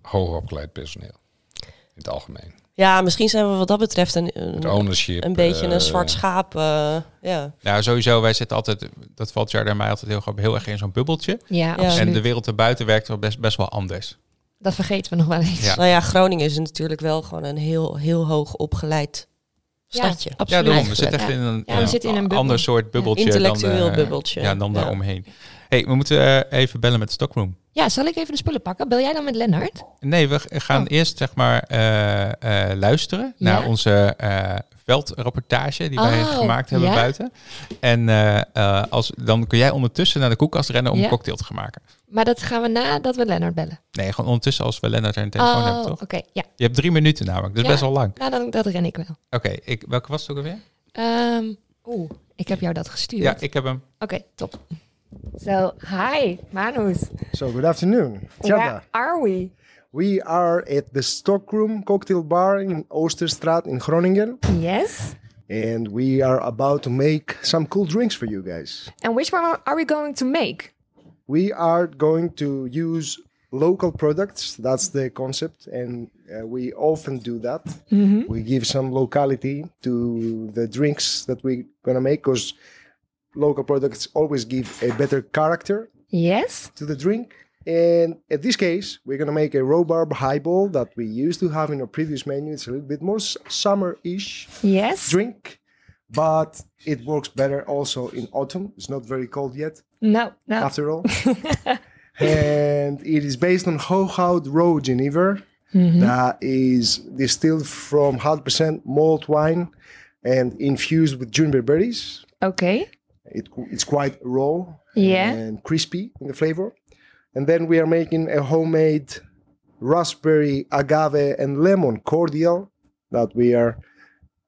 hoogopgeleid personeel. In het algemeen.
ja misschien zijn we wat dat betreft een,
Het
een,
ownership.
een beetje
eh,
een zwart schaap. eh, ja.
Nou, sowieso, wij zitten altijd, dat valt Jarda en mij altijd heel, erg- heel erg in zo'n bubbeltje.
Ja, absoluut.
En de wereld daarbuiten werkt wel best, best wel anders.
Dat vergeten we nog wel eens.
Ja.
Nou ja, Groningen is natuurlijk wel gewoon een heel, heel hoog opgeleid
Ja,
stadje.
Ja,
absoluut.
daarom. We zitten echt
Ja.
in een,
Ja, we
een
zitten in een bubbel.
ander soort bubbeltje. dan,
Intellectueel
eh,
bubbeltje.
Ja, dan
Ja.
daaromheen. hey, we moeten eh, even bellen met Stockroom.
Ja, zal ik even de spullen pakken? Bel jij dan met Lennart?
Nee, we g- gaan
Oh.
eerst zeg maar eh, eh, luisteren
Ja?
naar onze eh, veldrapportage die wij
Oh,
gemaakt hebben
ja?
buiten. En eh, eh, als, dan kun jij ondertussen naar de koelkast rennen om
Ja?
een cocktail te gaan maken.
Maar dat gaan we nadat we Lennart bellen.
Nee, gewoon ondertussen als we Lennart aan de telefoon hebben,
oh,
toch?
oké. Ja,
Je hebt drie minuten namelijk, dus
Ja.
best wel lang.
nou, dan, dat ren ik wel.
Oké, ik welke was het ook alweer?
Ehm, Oeh, ik heb jou dat gestuurd.
Ja, ik heb hem.
Oké, top. So, hi, Manus.
So, good afternoon.
Where
Tjada.
are we?
We are at the Stockroom Cocktail Bar in Oosterstraat in Groningen.
Yes.
And we are about to make some cool drinks for you guys.
And which one are we going to make?
We are going to use local products. That's the concept, and uh, we often do that.
Mhm.
We give some locality to the drinks that we're gonna make, because local products always give a better character
Yes.
to the drink. And in this case, we're gonna make a rhubarb highball that we used to have in our previous menu. It's a little bit more s- summer-ish
Yes.
drink, but it works better also in autumn. It's not very cold yet,
No, no.
after all. and it is based on Hohout Row Geneva
Mm-hmm.
that is distilled from 100% malt wine and infused with juniper berries.
Oké.
It, it's quite raw
Yeah.
and crispy in the flavor. And then we are making a homemade raspberry, agave, and lemon cordial that we are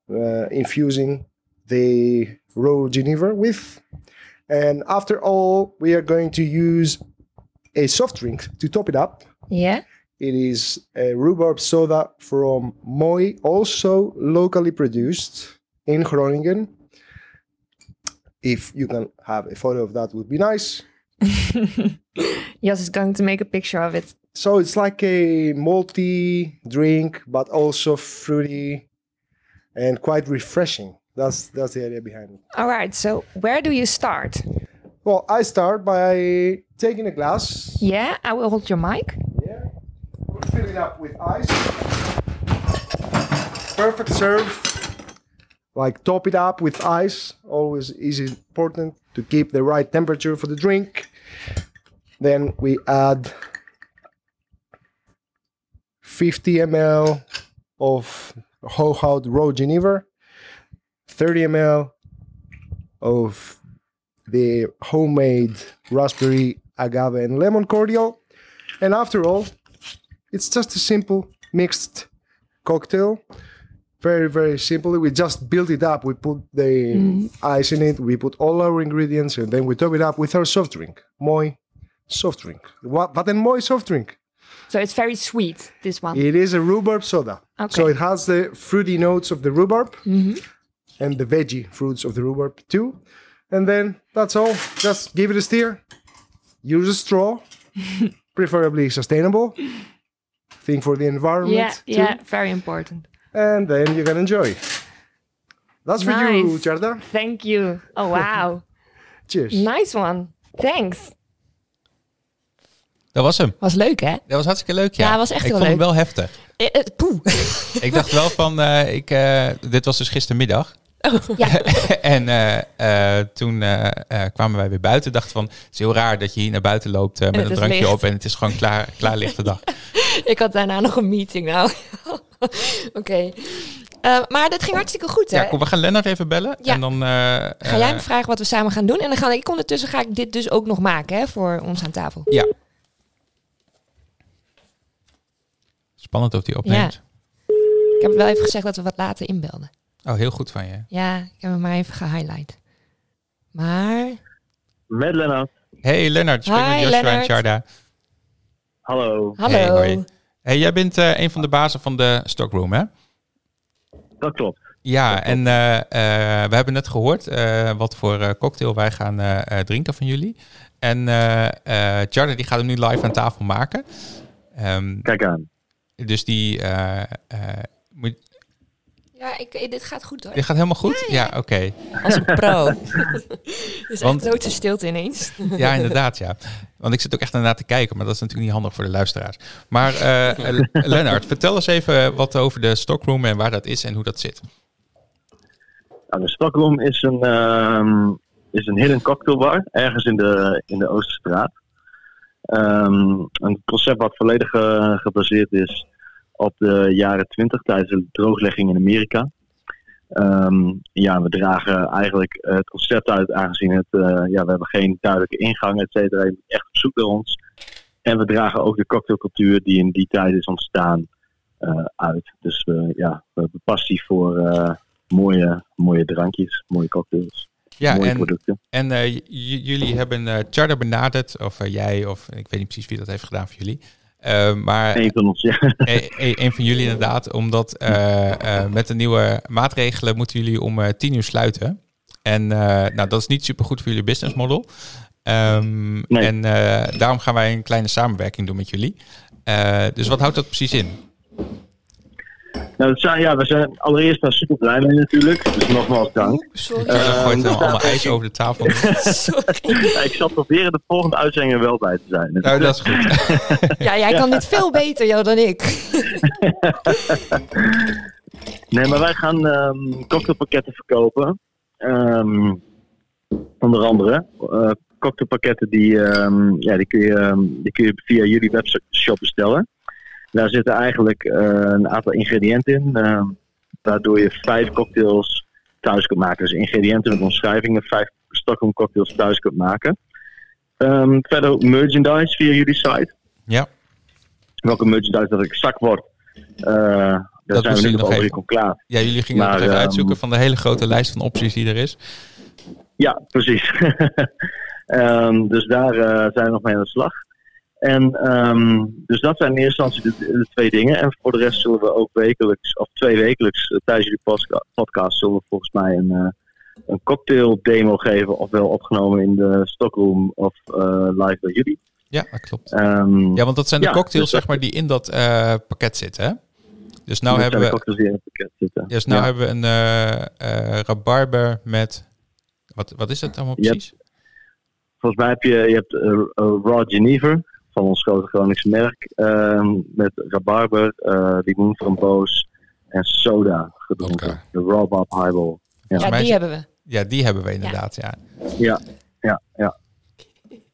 uh, infusing the raw Geneva with. And after all, we are going to use a soft drink to top it up.
Yeah.
It is a rhubarb soda from Moi, also locally produced in Groningen. If you can have a photo of that, would be nice.
Jas is going to make a picture of it.
So it's like a malty drink, but also fruity and quite refreshing. That's that's the idea behind it.
All right. So where do you start?
Well, I start by taking a glass.
Yeah, I will hold your mic.
Yeah. We'll fill it up with ice. Perfect serve. Like top it up with ice. Always is important to keep the right temperature for the drink. Then we add 50 ml of Hohout Raw Geneva, 30 ml of the homemade raspberry, agave, and lemon cordial. And after all, it's just a simple mixed cocktail. Very, very simple. We just build it up. We put the ice in it. We put all our ingredients, and then we top it up with our soft drink, Moi soft drink. What? But then Moi soft drink.
So it's very sweet, this one.
It is a rhubarb soda.
Okay. Mm-hmm.
So it has the fruity notes of the rhubarb and the veggie fruits of the rhubarb too. And then that's all. Just give it a steer. Use a straw, preferably sustainable. Think for the environment
yeah,
too.
yeah, very important.
And then you can enjoy. That's for you,
Nice.
Charda.
Thank you. Oh, wow.
Cheers.
nice one. Thanks.
Dat was hem.
Was leuk, hè?
Dat was hartstikke leuk, ja.
Ja, was echt
ik
heel
vond
leuk.
hem wel heftig.
Eh, eh, Poeh.
Ik dacht wel van, eh, ik, eh, dit was dus gistermiddag.
Oh, Ja.
en eh, eh, toen eh, eh, kwamen wij weer buiten. Dachten van, het is heel raar dat je hier naar buiten loopt eh, met
het
een
is
drankje
licht.
op en het is gewoon klaar, klaar lichte dag.
Ik had daarna nog een meeting, nou. Oké. Eh, maar dit ging hartstikke goed, hè?
Ja, kom, we gaan Lennart even bellen.
Ja.
En dan, eh,
Ga jij
eh,
me vragen wat we samen gaan doen? En dan ga ik ondertussen ga ik dit dus ook nog maken hè, voor ons aan tafel.
Ja. Spannend of die opneemt.
Ik heb wel even gezegd dat we wat later inbelden.
Oh, heel goed van je.
Ja, ik heb hem maar even gehighlight. Maar
Met Lennart.
Hey Lennart, je spreekt
Hi,
met Joshua en
Lennart.
Charda.
Hallo.
hallo.
Hey, hoi. Hey, jij bent eh, een van de bazen van de Stockroom, hè?
Dat klopt.
Ja, en eh, eh, we hebben net gehoord eh, wat voor eh, cocktail wij gaan eh, eh, drinken van jullie. En eh eh, Charda die gaat hem nu live aan tafel maken. Ehm,
Kijk aan.
dus die, eh, eh, moet,
Ja, ik, eh, dit gaat goed hoor.
die gaat helemaal goed? Ja, oké.
Als een pro. dus
Want-
Want... grote stilte ineens.
Ja, inderdaad, ja. Want ik zit ook echt ernaar te kijken, maar dat is natuurlijk niet handig voor de luisteraars. Maar eh, eh, Lennart, vertel eens even wat over de stockroom en waar dat is en hoe dat zit.
Nou, de Stockholm is een, ehm, is een hidden cocktailbar, ergens in de, in de Oosterstraat. Ehm, een concept wat volledig eh, gebaseerd is op de jaren 20 tijdens de drooglegging in Amerika. Ehm, ja, we dragen eigenlijk het concept uit aangezien het, eh, ja, we hebben geen duidelijke ingang, et cetera. Je moet echt op zoek naar ons. En we dragen ook de cocktailcultuur die in die tijd is ontstaan eh, uit. Dus we, ja, we hebben passie voor... eh, mooie, mooie drankjes, mooie cocktails,
Ja,
mooie
en,
producten.
en eh, j- j- jullie hebben eh Charter benaderd, of eh, jij, of ik weet niet precies wie dat heeft gedaan voor jullie. Eh, maar
Eén van ons, ja.
e- e- een van jullie inderdaad, omdat eh, eh, met de nieuwe maatregelen moeten jullie om eh, tien uur sluiten. En eh, nou, dat is niet super goed voor jullie businessmodel. Ehm,
Nee.
En eh, daarom gaan wij een kleine samenwerking doen met jullie. Eh, dus wat houdt dat precies in?
Nou, dat zijn, ja, we zijn allereerst naar super blij mee natuurlijk. Dus nogmaals dank.
Sorry.
Charlie
Ehm,
gooit eh,
ja,
allemaal ijs over de tafel.
Sorry.
Ja, ik zal proberen de volgende uitzending er wel bij te zijn. Dus-
Nou, dat is goed.
Ja, jij kan dit veel beter joh, dan ik.
Nee, maar wij gaan ehm, cocktailpakketten verkopen. Ehm, onder andere. eh, cocktailpakketten die, ehm, ja, die, kun je, ehm, die kun je via jullie webshop bestellen. Daar zitten eigenlijk eh, een aantal ingrediënten in. eh, waardoor je vijf cocktails thuis kunt maken. Dus ingrediënten met omschrijvingen. Vijf Stockholm cocktails thuis kunt maken. Ehm, verder ook merchandise via jullie site.
Ja,
Welke merchandise dat exact wordt. eh, daar
Dat
zijn we
misschien
nu
nog
nog over
even.
klaar.
ja jullie gingen
Nou,
Maar,
dat nog even
ehm,
uitzoeken van de hele grote lijst van opties die er is.
Ja, precies. Ehm, dus daar eh, zijn we nog mee aan de slag. En ehm, dus dat zijn in eerste instantie de, de twee dingen. En voor de rest zullen we ook wekelijks, of twee wekelijks, eh, tijdens jullie posca- podcast, zullen we volgens mij een, eh, een cocktail demo geven. Ofwel opgenomen in de Stockroom of eh, live bij jullie.
Ja, dat klopt.
Ehm,
Ja, want dat zijn de
Ja,
cocktails
dus-
zeg maar, die in dat eh, pakket zitten. Hè? Dus nou
dat
hebben
zijn
we
de cocktails die in het pakket zitten.
Dus nou
Ja.
hebben we een eh, eh, rabarber met. Wat, wat is dat allemaal
Je hebt-
precies?
Volgens mij heb je, je hebt eh, eh, Raw Genever van ons grote Groningse merk. ehm, met rabarber, eh limoenframboos en soda gedronken.
Oké.
De Raw Bob Highball.
Ja,
mij is-
die hebben we.
Ja, die hebben we inderdaad. Ja,
Ja, ja, ja.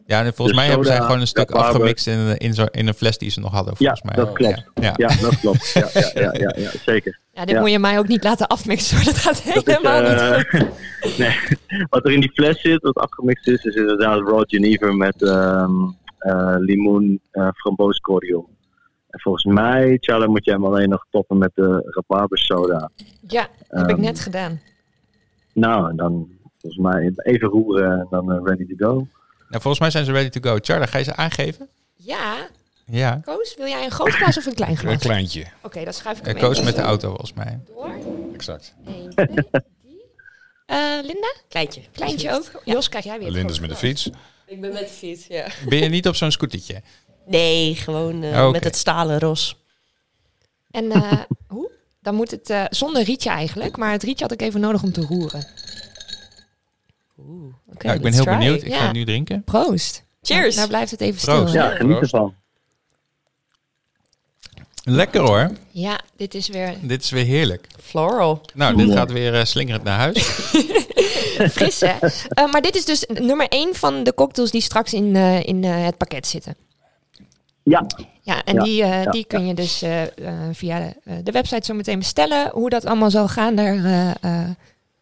ja en volgens
Dus
mij hebben zij
soda,
gewoon een stuk
rabarber.
afgemixt in, een- in, zo, in een fles die ze nog hadden.
Ja,
Volgens mij.
dat klopt.
Ja.
Ja, dat klopt. Ja, ja, ja, ja, ja zeker.
Ja, dit
Ja.
moet je mij ook niet laten afmixen. hoor. Dat gaat
Dat is,
helemaal niet goed.
eh, nee, wat er in die fles zit, wat afgemixt is, is inderdaad Raw Genever met ehm, eh, limoen, eh framboos cordial. En volgens mij, Charlie, moet jij hem alleen nog toppen met de rabarber soda.
Ja, heb ik
ehm,
net gedaan.
Nou, en dan volgens mij even roeren en dan eh, ready to go.
Nou, volgens mij zijn ze ready to go. Charlie, ga je ze aangeven?
Ja,
Ja.
Koos, wil jij een groot glas of een klein
Een
glas? Oké,
kleintje,
dat schuif ik
Eh,
hem
Koos
even
met de auto, volgens mij.
door.
exact.
Eén, twee, drie. Eh, Linda,
Kleintje.
kleintje ook. Jos, krijg jij weer het
Linders met
grote
de fiets.
Ik ben met de fiets, ja.
Ben je niet op zo'n scootertje?
Nee, gewoon eh,
Oh, Oké.
met het stalen ros.
glas. En eh, hoe? Dan moet het eh, zonder rietje eigenlijk. Maar het rietje had ik even nodig om te roeren.
Oeh.
Oké,
Ja, ik ben
let's
heel
try.
benieuwd. Ik
Ja.
ga het nu drinken.
Proost.
Cheers.
Nou, nou blijft het even
Proost.
stil.
Ja,
Ja.
geniet ervan.
Lekker hoor.
ja, dit is weer
Dit is weer heerlijk.
Floral.
Nou, dit gaat weer eh, slingerend naar huis.
fris, hè? Eh, maar dit is dus nummer één van de cocktails die straks in, eh, in eh, het pakket zitten.
Ja,
Ja, en
Ja,
die, eh,
ja,
die kun je dus eh, eh, via de, eh, de website zo meteen bestellen. Hoe dat allemaal zal gaan, daar, eh, eh,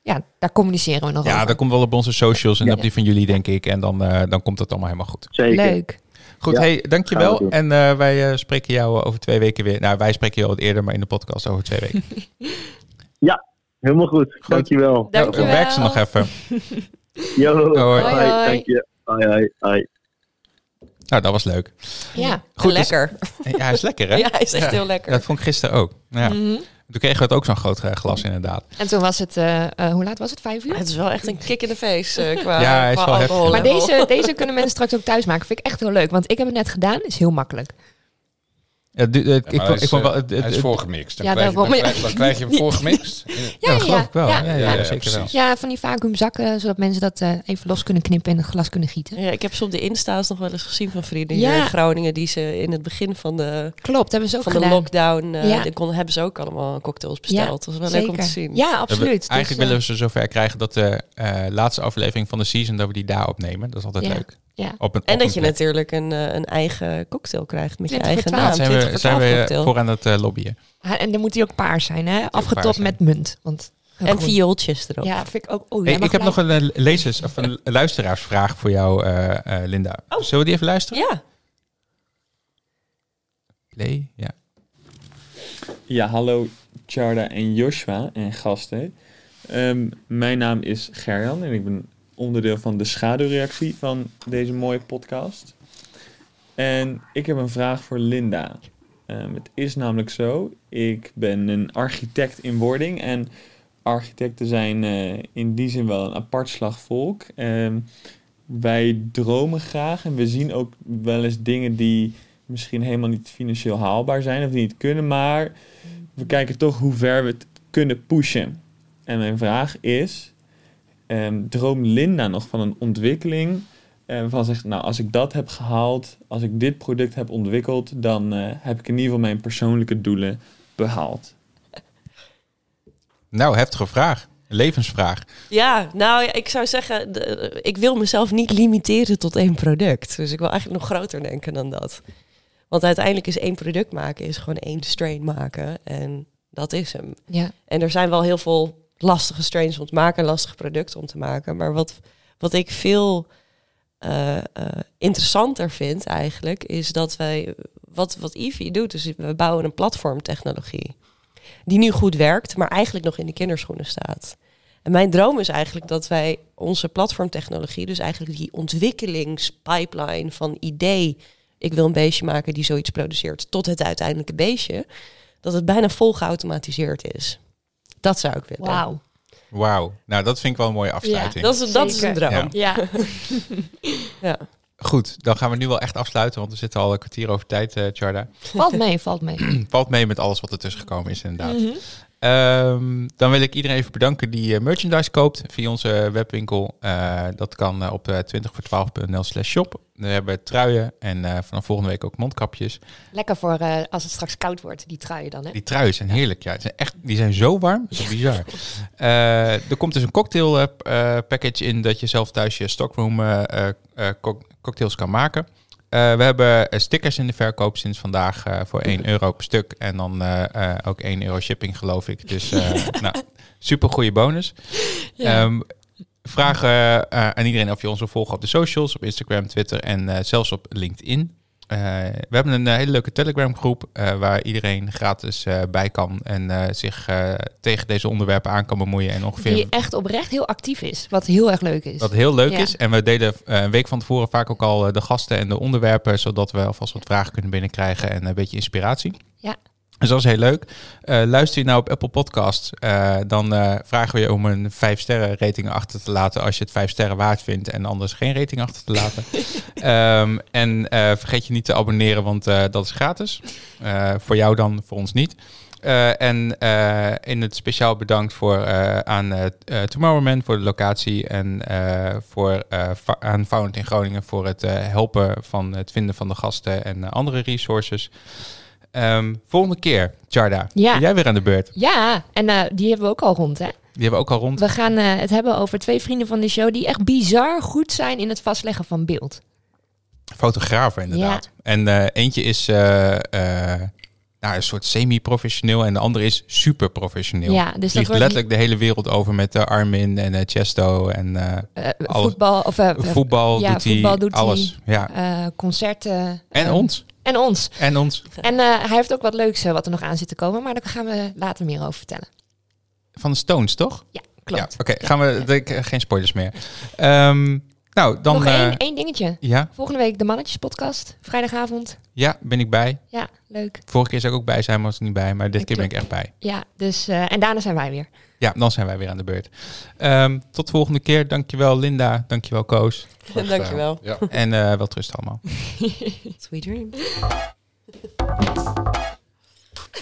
ja, daar communiceren we nog
Ja,
over.
dat komt wel op onze socials en
Ja.
op die van jullie, denk ik. En dan, eh, dan komt dat allemaal helemaal goed.
zeker.
Leuk.
Goed,
Ja,
hey,
gaan we
dankjewel.
doen.
En eh, wij eh, spreken jou eh, over twee weken weer. Nou, wij spreken je al wat eerder, maar in de podcast over twee weken.
Ja, helemaal goed. Dankjewel.
Dankjewel.
Nou, Werk ze nog even.
Yo,
Hoi,
Hoi.
hoi.
Dank je. Hoi, hoi, hoi.
Nou, dat was leuk.
Ja,
Goed, dus-
lekker.
Ja, hij is lekker, hè?
Ja, hij is echt heel lekker.
Dat vond ik gisteren ook. Ja.
Mhm.
Toen kregen we het ook zo'n groot eh, glas, inderdaad.
en toen was het, eh, eh, hoe laat was het? Vijf uur?
Het is wel echt een kick in de face eh, qua,
Ja, hij is
qua
wel heftig.
alcohol.
Maar deze, deze kunnen mensen straks ook thuis maken. Vind ik echt heel leuk, want ik heb het net gedaan. Is heel makkelijk.
Ja, du- eh, ik,
Ja, maar
vond-
hij
ik
is,
vond
eh,
wel... het- het-
hij is
het-
voorgemixt. Dan,
Ja,
krijg, je, dan,
daarom, ja.
krijg, dan krijg je hem voorgemixt. Ja,
ja, dat Nou, geloof ik wel. Ja, ja,
ja, ja,
zeker wel.
precies.
Ja, van die vacuümzakken, zodat mensen dat eh, even los kunnen knippen en een glas kunnen gieten.
Ja, ik heb ze op de Insta's nog wel eens gezien van vrienden
Ja.
hier in eh, Groningen. Die ze in het begin van de,
Klopt, hebben ze ook
van de
gedaan.
lockdown, eh
Ja.
die kon, hebben ze ook allemaal cocktails besteld. dat is wel leuk om te zien.
Ja,
We-
absoluut.
Eigenlijk
Dus, eh,
willen we ze zover krijgen dat de eh, laatste aflevering van de season, dat we die daar opnemen. Dat is altijd
Ja.
leuk.
Ja.
Op een,
En
op
dat
een
je
plek.
natuurlijk een, eh, een eigen cocktail krijgt met je
20 voor
eigen
12.
naam.
Ja,
20 Ah,
zijn we,
voor 12
zijn we eh,
cocktail.
voor aan het eh, lobbyen.
Ha, En dan moet hij ook paars zijn, hè?
paars
Afgetopt
zijn.
met munt. Want
En
groen.
viooltjes erop.
Ja, vind ik ook. Oh,
Hey,
jij mag
ik heb nog
gelijk-
een eh, lezers, of een luisteraarsvraag voor jou, eh, eh, Linda. Zullen we die even luisteren?
Oh. Ja.
Play, ja.
Ja, hallo Charda en Joshua en gasten. Ehm, mijn naam is Gerjan en ik ben onderdeel van de schaduwreactie van deze mooie podcast. En ik heb een vraag voor Linda. Ehm, het is namelijk zo, ik ben een architect in wording en architecten zijn eh, in die zin wel een apart slag volk. Ehm, wij dromen graag en we zien ook wel eens dingen die misschien helemaal niet financieel haalbaar zijn of die niet kunnen, maar we kijken toch hoe ver we het kunnen pushen. En mijn vraag is, ehm droomt Linda nog van een ontwikkeling eh, waarvan ze zegt, nou als ik dat heb gehaald, als ik dit product heb ontwikkeld, dan eh, heb ik in ieder geval mijn persoonlijke doelen behaald.
Nou, heftige vraag. Levensvraag.
Ja, nou ja, ik zou zeggen, de- ik wil mezelf niet limiteren tot één product. Dus ik wil eigenlijk nog groter denken dan dat. Want uiteindelijk is één product maken, is gewoon één strain maken. En dat is hem.
Ja.
En er zijn wel heel veel lastige strains om te maken, lastige producten om te maken. Maar wat, wat ik veel eh, eh, interessanter vind eigenlijk, is dat wij, wat, wat Ivy doet, dus we bouwen een platformtechnologie. Die nu goed werkt, maar eigenlijk nog in de kinderschoenen staat. En mijn droom is eigenlijk dat wij onze platformtechnologie, dus eigenlijk die ontwikkelingspipeline van idee, ik wil een beestje maken die zoiets produceert, tot het uiteindelijke beestje, dat het bijna vol geautomatiseerd is. Dat zou ik willen.
Wauw.
Wauw. Nou, dat vind ik wel een mooie afsluiting.
Dat is, dat is een
Zeker.
droom.
Ja.
Ja.
Ja.
Goed, dan gaan we nu wel echt afsluiten, want we zitten al een kwartier over tijd, eh Charda.
Valt mee, valt mee. Mhm.
Valt mee met alles wat ertussen gekomen is, inderdaad. Ehm, dan wil ik iedereen even bedanken die eh, merchandise koopt via onze webwinkel. Eh, dat kan eh, op eh, 20voor12.nl slash shop. We hebben truien en eh, vanaf volgende week ook mondkapjes.
Lekker voor eh, als het straks koud wordt, die truien dan. Hè?
Die truien zijn heerlijk, ja. Die zijn, echt, die zijn zo warm, dat is bizar. Eh, er komt dus een cocktail eh, p- eh, package in dat je zelf thuis je stockroom eh, eh, eh, cock- cocktails kan maken. Eh, we hebben eh, stickers in de verkoop sinds vandaag eh, voor 1 euro per stuk. En dan eh, eh, ook 1 euro shipping, geloof ik. Dus eh nou, super goede bonus.
Ja.
Ehm, vraag eh, eh, aan iedereen of je ons wil volgen op de socials, op Instagram, Twitter en eh, zelfs op LinkedIn. Eh, we hebben een eh, hele leuke Telegram groep eh, waar iedereen gratis eh, bij kan en eh, zich eh, tegen deze onderwerpen aan kan bemoeien. En ongeveer
Die echt oprecht heel actief is. Wat heel erg leuk is.
wat heel leuk
Ja.
is. En we delen eh, een week van tevoren vaak ook al eh, de gasten en de onderwerpen, zodat we alvast wat vragen kunnen binnenkrijgen en een beetje inspiratie.
Ja.
Dus dat is heel leuk. Eh, luister je nou op Apple Podcasts, eh, dan eh, vragen we je om een 5 sterren rating achter te laten als je het 5 sterren waard vindt en anders geen rating achter te laten. Ehm, en eh, vergeet je niet te abonneren, want eh, dat is gratis. Eh, voor jou dan, voor ons niet. Eh, en eh, in het speciaal bedankt voor, eh, aan eh eh, Tomorrowland voor de locatie en eh, voor, eh, Va- aan Found in Groningen voor het eh, helpen van het vinden van de gasten en eh, andere resources. Ehm, volgende keer, Charda,
Ja.
ben jij weer aan de beurt.
Ja, en eh, die hebben we ook al rond, hè?
Die hebben we ook al rond.
We gaan eh, het hebben over twee vrienden van de show die echt bizar goed zijn in het vastleggen van beeld.
Fotografen, inderdaad. En eh, eentje is eh, eh, nou, een soort semi-professioneel en de andere is super professioneel.
Ja, dus dat
Vliegt
wordt
letterlijk de hele wereld over met eh, Armin en eh, Chesto en eh,
eh,
alles.
voetbal of eh,
voetbal,
ja,
doet hij,
voetbal doet hij.
alles. Ja.
eh, concerten.
En
eh,
ons.
En ons.
En ons.
En eh, hij heeft ook wat leuks eh, wat er nog aan zit te komen, maar daar gaan we later meer over vertellen.
Van de Stones, toch?
Ja, klopt.
Ja, Oké, gaan we. ik- eh, geen spoilers meer. Ehm, nou, dan.
Nog
eh,
één, één dingetje.
ja,
Volgende week de Mannetjespodcast, vrijdagavond.
ja, ben ik bij.
Ja, leuk.
Vorige keer zou ik ook bij zijn, maar was ik niet bij. Maar dit
Ik
keer ben ik
ook.
echt bij.
Ja, dus, eh, en daarna zijn wij weer.
Ja, dan zijn wij weer aan de beurt. Ehm, tot de volgende keer. Dankjewel, Linda. Dankjewel, Koos.
Dankjewel.
Ja.
En eh wel trust allemaal.
Sweet dream.